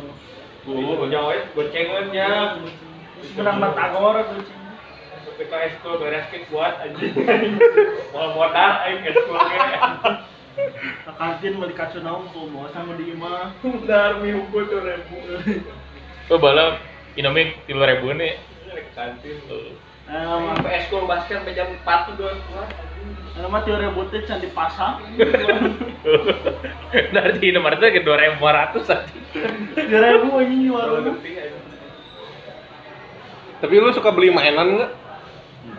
gua
Nyawa ya gocengan ya
Terus menang batagor tuh. cing.
Ketika eskul beres kit buat anjing eh, Mau modal aing eskul eh.
Ke kantin beli kacau naung tuh bawa sama di imah.
Dar mi hukum tuh rebu
Oh bala Indomie tiga ribu nih.
Kantin
Nah, mah
Sampai eskul basket sampai jam 4 tuh doang.
Karena mah teori butik can dipasang.
Dari Indomaret teh ke dua ribu lima ratus anjing.
Gara gue anjing di
Kalau
warung.
ngerti anjing
tapi lu suka beli mainan nggak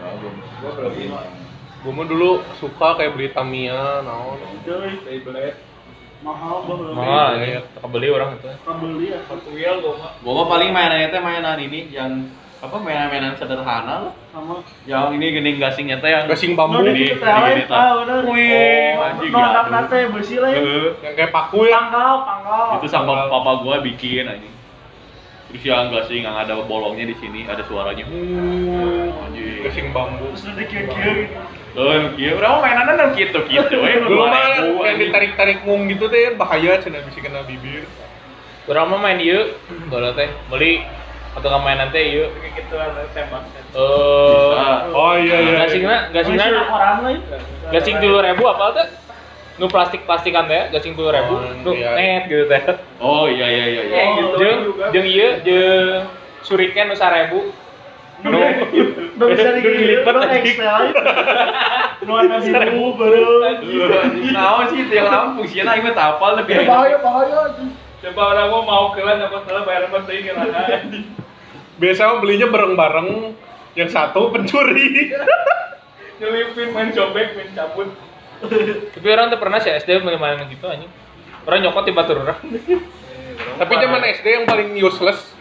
enggak belum
Gua belum
gue mah dulu suka kayak beli Tamiya naon
Doi,
Beyblade
mahal banget.
Mahal
Iya.
anjing. Kebeli orang itu.
Kebeli ya.
Hot Wheel gua mah
gua mah paling mainannya teh mainan ini yang apa mainan-mainan sederhana lah
Sama.
yang ini gini gasingnya teh yang
gasing bambu
Nah,
di-
di
di-
telain,
di- di-
ah, bener.
Wih,
Oh,
anjing,
no,
ya.
anak nate besi lah ya.
Eh,
yang kayak paku ya
Pangkal, pangkal.
itu sama papa gua bikin anjing terus yang gasing yang ada bolongnya di sini ada suaranya anjing
gasing bambu
Terus ada kikir gitu.
Tuh, iya, udah mau mainannya nang gitu gitu. Eh,
dulu
dua
mah
ribu,
yang
anjing.
ditarik-tarik mung gitu teh bahaya cina bisa kena bibir
Orang mah main ieu bala teh beli atau nggak mainan teh ieu.
Kayak gitu ada tembak
Eh
Bisa.
oh iya iya
gasingna
Masih
gasingna
anak orang ya. lain.
gasing tujuh ribu apa teh? Nu plastik plastikan teh gasing tujuh ribu. Nu
iya.
net gitu teh.
Oh iya iya iya. iya.
Eh, gitu
Jeng
juga.
jeng ieu jeung suriken nu ribu. Nu
Udah bisa
Udah
digilipat
dilipat,
dong
anjing.
Excel itu. Nu anak ibu baru.
Tahu sih tiang Lampung sih, nah ini tapal lebih enak.
Eh, Bahaya, bahaya.
Coba orang nah. mau mau kelan apa kelan bayar apa teuing kelan
biasanya belinya bareng-bareng yang satu pencuri
nyelipin main cobek main cabut
Tapi orang tuh pernah sih SD main gitu anjing. Orang nyokot tiba turun orang.
tapi zaman SD yang paling useless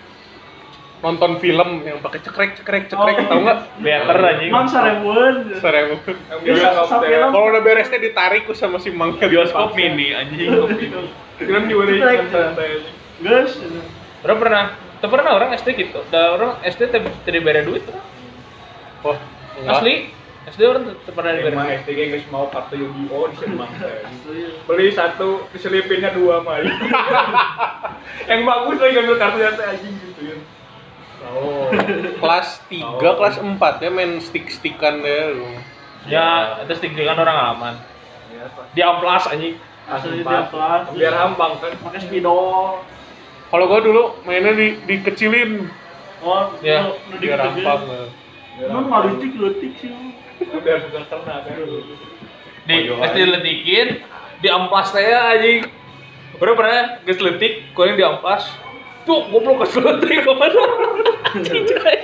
nonton film yang pakai cekrek cekrek cekrek
Oh.
tau nggak
Beater anjing.
Mang sareweun.
serem
Iya,
film.
kalau udah beresnya ditarik ku sama si mang ke
Bioskop mini anjing.
film juga nih
Strike.
santai
Geus.
Orang pernah, tuh pernah orang SD gitu. Da orang SD tapi tidak beri duit. orang.
wah asli
Asli. SD orang tuh pernah diberi
Emang
duit.
SD geng guys mau kartu Yu-Gi-Oh di sini Beli satu, diselipinnya dua mah. yang bagus lagi ngambil kartu yang anjing gitu ya.
Oh.
kelas 3,
Oh.
kelas 4 ya main stick stickan deh lu
Ya, itu tinggikan orang aman.
Ya, Pak.
Di amplas anjing.
Asli
Empat.
dia pelat.
Biar hambang kan.
Pakai spidol.
kalau gua dulu mainnya di dikecilin
Oh,
Ya,
nu- nu
biar
dikit-dikit.
rampang eh.
Emang ngalutik lutik sih.
Biar suka ternak kan.
Di
Oyoan.
SD letikin, di amplas saya anjing. Orang pernah geus letik, kurang di amplas. Tuh, goblok geus letik kemana? Anjing, coy.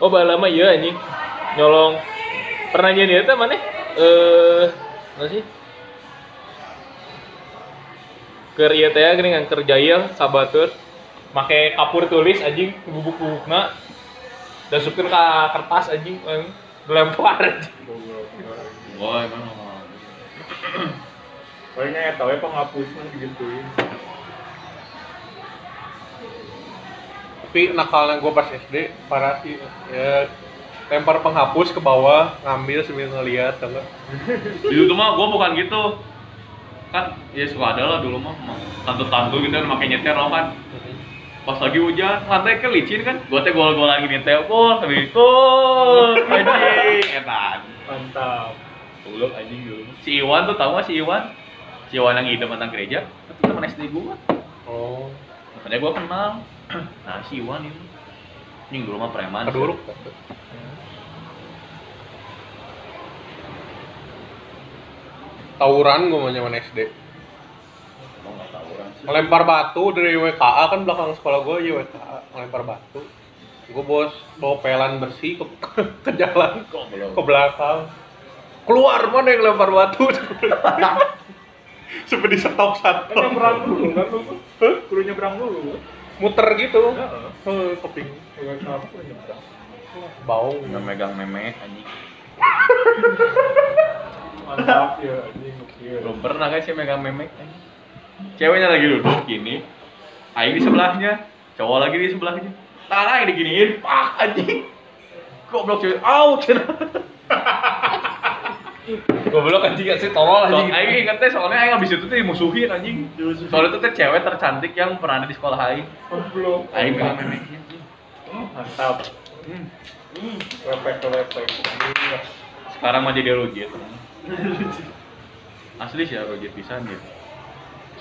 Oh, bala mah ieu anjing. Nyolong. Pernah nyeun ieu teh maneh? Eh, naon sih? Keur ieu iya teh kan, geuning ngan keur jail sabatur. Make kapur tulis anjing, bubuk-bubukna. Dasupkeun ka kertas anjing, anjing. dilempar anjing.
Wah, emang lama.
Palingnya ya tau ya penghapus mah gitu ya. digituin.
tapi nakalnya gue pas SD parah sih ya lempar penghapus ke bawah ngambil sambil ngeliat tau nggak?
Dulu tuh mah gua bukan gitu. Kan ya suka ada lah dulu mah tantu-tantu gitu kan pakai nyetir loh kan. Pas lagi hujan, lantai kan licin kan. Gua teh gol-golan gini telepon, tapi gol anjing etan.
Mantap.
Dulu anjing dulu. Si Iwan tuh tahu nggak si Iwan? Si Iwan yang hidup tentang gereja, itu teman SD gua.
oh
Makanya gua kenal. Nah, si Iwan itu anjing dulu mah preman.
keduruk tawuran gue mau nyaman SD
Gua nggak tahu orang sih.
melempar batu dari WKA kan belakang sekolah gue aja WKA melempar batu gue bos bawa pelan bersih ke, ke jalan
Kok belum?
ke belakang keluar mana yang lempar batu seperti stop
Kan
satu
nyebrang dulu kan lu. Kudu nyebrang dulu.
muter gitu
Heeh.
Eh, keping
Kalau kamu kudu nyebrang.
bau
Nggak megang meme anjing.
Mantap ya anjing gokil.
Belum pernah kan sih megang memek Ceweknya lagi duduk gini. Aing di sebelahnya, cowok lagi di sebelahnya. Tangan aing diginiin, pak anjing. Goblok cewek, au cenah.
Goblok anjing sih
So,
tolol anjing.
aing ingetnya soalnya aing abis itu tuh dimusuhin anjing. Soalnya itu teh cewek tercantik yang pernah ada di sekolah aing.
Goblok.
Aing megang memeknya.
Mantap.
Hmm.
Hmm, lepek lepek.
Sekarang mah jadi rojit. Asli sih ya, rojit pisan dia.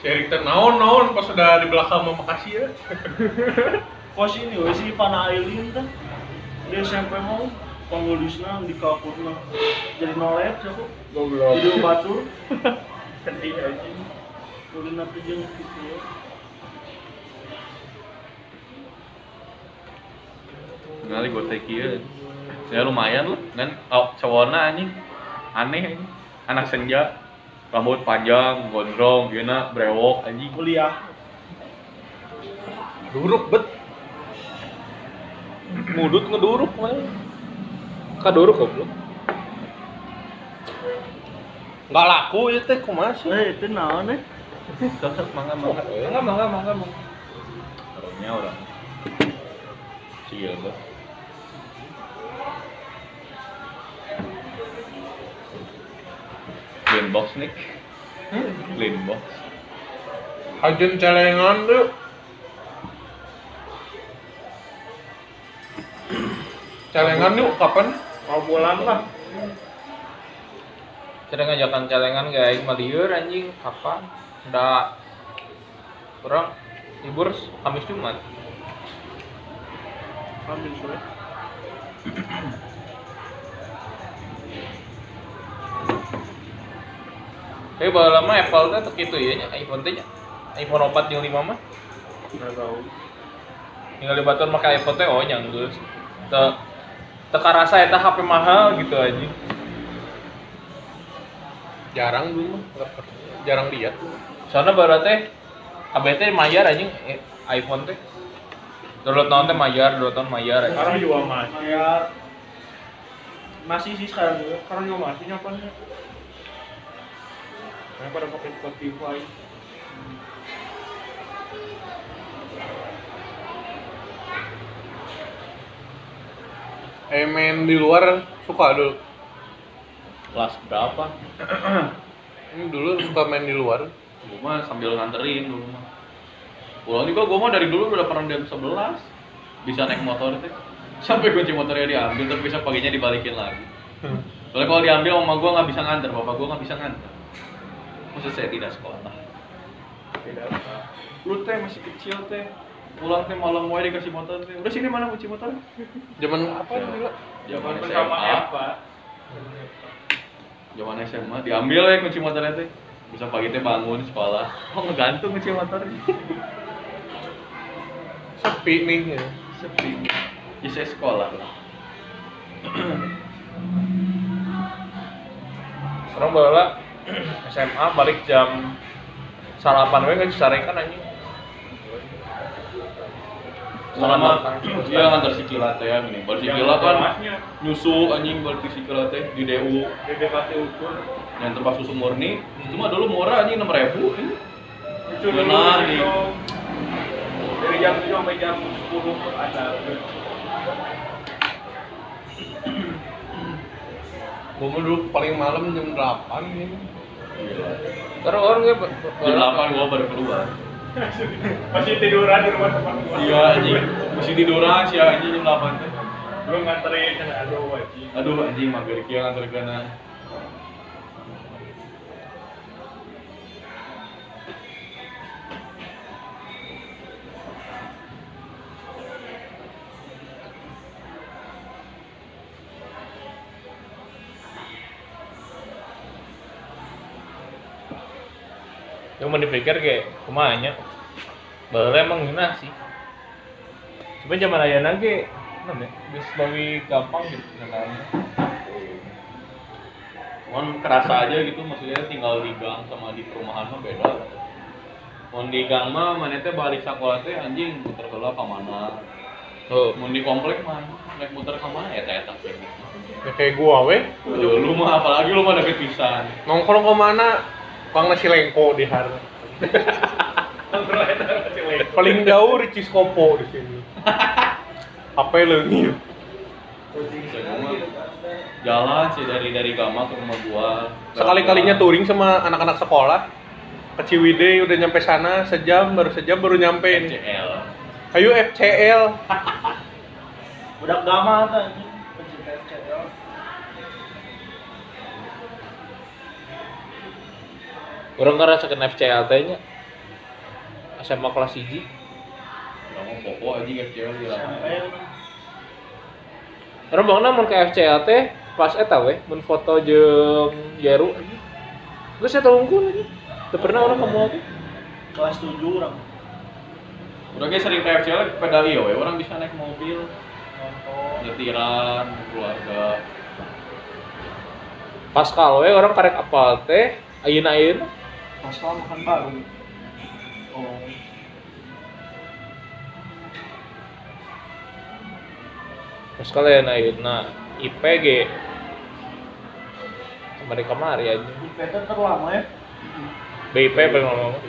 si Erik teh naon naon pas udah di belakang sama makasih ya
Kos ini we si Ivana Ailin teh. Di SMP mau panggulisna di kapurna. Jadi nolet siapa?
Goblok.
Jadi batur.
Sedih anjing.
Kulina teh jeung gitu ya.
Ngali gue take ya. Ya lumayan lah kan oh, cowoknya anjing aneh anjing. Anak senja rambut panjang, gondrong, gena, brewok anjing.
Kuliah.
duruk bet
Mudut ngeduruk mana? Kaduruk goblok.
nggak laku ya teh kumaha sih
Eh, itu naon eh?
Sosok mangga mangga.
Enggak, enggak, enggak, enggak.
Orangnya eh. orang. Si Gilbert. Linbox Nick. Hmm? Linbox.
hajen celengan tuh celengan yuk kapan
Mau pulang lah.
Sering ngajakan celengan guys, maliur anjing, kapan? Udah kurang libur Kamis Jumat.
Ambil sore.
Tapi bahwa lama Apple teh tuh gitu ya, nya, iPhone teh nya. iPhone 4 yang 5 mah.
Nggak tahu.
tinggal di Batur pakai iPhone teh oh yang geus. Te teka rasa eta HP mahal gitu aja.
jarang dulu mah nggak pernah. jarang lihat
Soalnya baru teh KBT mayar anjing eh, iPhone teh. Download naon teh mayar, download naon mayar anjing.
Sekarang juga masih.
Mayar. Masih sih sekarang juga.
Sekarang juga masih nyapannya. Karena pada pakai Spotify.
eh main di luar suka dulu
kelas berapa
ini dulu suka main di luar
Gua mah sambil nganterin dulu mah pulang juga gua mah dari dulu udah pernah jam 11 bisa naik motor teh sampai kunci motornya diambil terus bisa paginya dibalikin lagi soalnya kalau diambil mama gua nggak bisa nganter bapak gua nggak bisa nganter maksud saya tidak sekolah
Tidak apa.
lu teh masih kecil teh pulang teh malam wae dikasih motor teh udah sini mana kunci motor
zaman apa dulu Gila?
zaman
sama
SMA
apa?
zaman SMA diambil ya kunci motornya teh bisa pagi teh bangun sekolah oh ngegantung kunci motornya
sepi nih ya.
sepi ya saya sekolah lah
Sekarang barulah SMA balik jam salapan we kan disarekan anjing.
selama dia Iya, ngantar si Kila teh ya gini baru si Kila kan
masnya.
nyusu anjing baru si Kila teh di DU
DPKT ukur.
yang terpas susu murni cuma dulu murah anjing 6 ribu
Lucu
Benar,
dulu,
nih.
itu. Dari jam 7 sampai jam 10 tuh ada.
gua mah dulu paling malam jam 8 gitu
Terus orang gue ber-
jam
ber-
8 gua baru keluar
Masih tiduran di rumah teman gua.
iya anjing masih tiduran sih ya, anjing jam 8 teh
Gua nganterin kan aduh wajib.
aduh anjing mampir kia ngantar kana
Cuma dipikir kayak kumanya. Baru emang gina sih. Cuma zaman ayana ge naon ya? Geus bami gampang gitu sebenarnya.
cuman kerasa aja gitu maksudnya tinggal di gang sama di perumahan mah beda mau di gang mah mana teh balik sekolah teh anjing muter keluar ke mana
Oh,
mau di komplek mah naik muter ke mana ya teh teh
ya kayak gua weh
lu mah apalagi lu mah deket pisan
nongkrong kemana Bang nasi lengko di hari paling jauh di Ciskopo di sini apa ya, leungit
jalan sih dari dari Gama ke rumah gua
sekali-kalinya touring sama anak-anak sekolah ke Ciwidey udah nyampe sana sejam baru sejam baru nyampe ini
CL
ayo FCL
Budak gama tuh anjing. Pencinta CL.
orang ngerasa ke FCL nya SMA kelas 1
ngomong popo aja ke CL di
CL.
Orang bangna mun ke FCL teh pas eta we mun foto jeung Jeru anjing. Geus eta unggul anjing. Teu pernah orang ke mall teh.
Kelas 7 orang.
udah kayak sering ke FCL pedal iya we orang bisa naik mobil
Nonton.
nyetiran keluarga
Pas kalau we orang karek apal teh ayeuna-ayeuna
Pasal makan baru. Oh.
pas kalau ayeuna-ayeuna IPG kemarin kemari ya. anjing.
Di PT terlama ya.
BIP paling lama.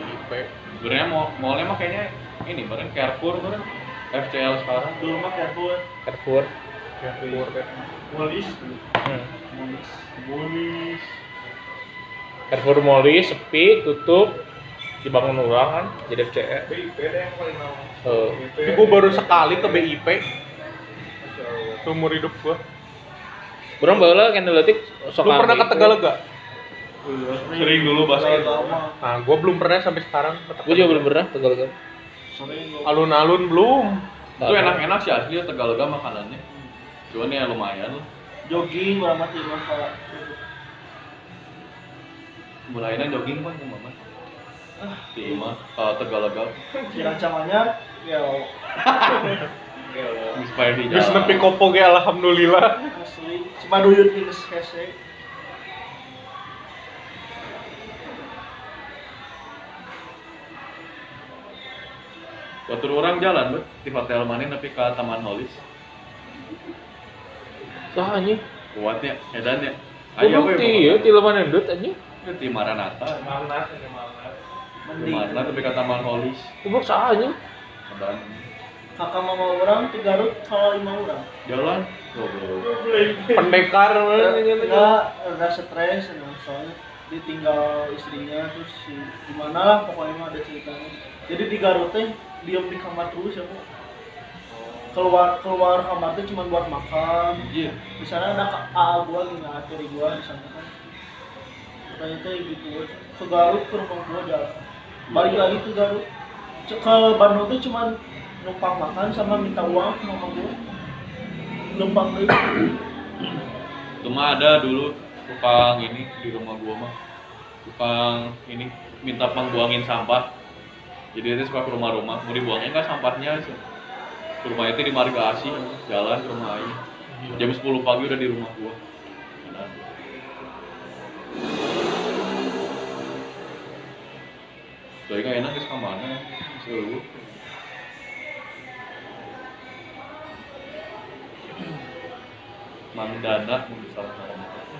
sebenarnya mau mallnya mah kayaknya ini bareng Carrefour kan, bareng FCL sekarang
Dulu mah Carrefour.
Carrefour.
Wallis.
Hmm.
Wallis. Wallis.
Carrefour Moli sepi, tutup, dibangun ulang kan, jadi FCL.
BIP deh yang paling lama.
Eh,
BIP.
Tapi gua baru sekali ke BIP seumur hidup gua
Orang baheula kena leutik sok
lu
aneh
pernah ke
itu.
Tegalega?
Sering dulu basket.
Lama.
nah gua belum pernah sampai sekarang ke
Gue juga belum pernah tegal kan.
Sering
Tegalega. alun-alun belum
itu enak-enak sih asli Tegalega makanannya cuman ya lumayan lah
jogging berapa tiga salah.
mulainya jogging kan eh, sama mama di imah kalau Tegalega
Kira camanya ya
Inspire di
Geus
jalan.
nepi kopo ge alhamdulillah.
asli cuma duyut di geus hese
Waktu orang jalan bet di hotel mana tapi ke Taman Holis.
Sah anjing.
Kuatnya, edannya.
Ayo bukti ya, tilaman endut anjing.
Itu di Maranata.
Manas, ini manas.
Di Maranata tapi ke Taman Holis.
Goblok sah anjing.
Kabaran.
kakak mama orang di Garut kalau lima orang
Jalan. Goblok.
Pendekar eh, mana
Iya,
nya nya.
nggak rada stres ya, soalnya ditinggal istrinya terus si gimana lah pokoknya mah ada ceritanya jadi di Garut teh diem di kamar terus ya Bu. keluar keluar kamar teh cuma buat makan
Anjir.
di sana ada ka- AA gua nih ngatur gua di sana kan katanya teh gitu ke Garut ke rumah gua jalan balik lagi ke Garut C- ke Bandung tuh cuma numpang makan sama minta uang ke mama gua numpang lagi
Cuma ada dulu tukang ini di rumah gua mah. Tukang ini minta pengbuangin sampah. Jadi dia suka ke rumah-rumah, mau dibuangin nggak sampahnya sih. Ke rumah itu di Marga Asi, jalan ke rumah Aing. Jam 10 pagi udah di rumah gua. Edan. Soalnya nggak enak ya, guys kemana? Seru. Mandana mungkin salah namanya.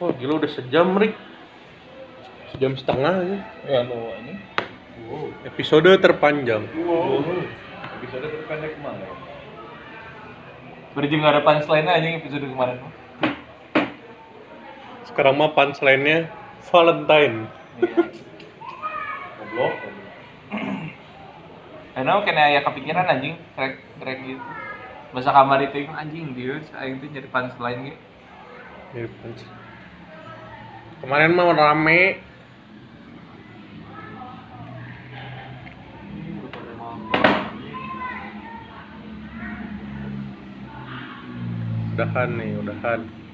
Oh, gila udah sejam, Rik. Sejam setengah aja.
Ya lo ini.
Episode terpanjang.
Wow. Episode terpendek kemana ya?
Berjeng ada punchline aja episode kemarin.
Sekarang mah punchline-nya Valentine.
Goblok.
Karena kena aya kepikiran anjing, rek rek gitu. Masa kamar itu yang anjing dia, aing tuh nyari punchline gitu.
Jadi punch- Iya, Kemarin mah rame. Udahan nih, udahan.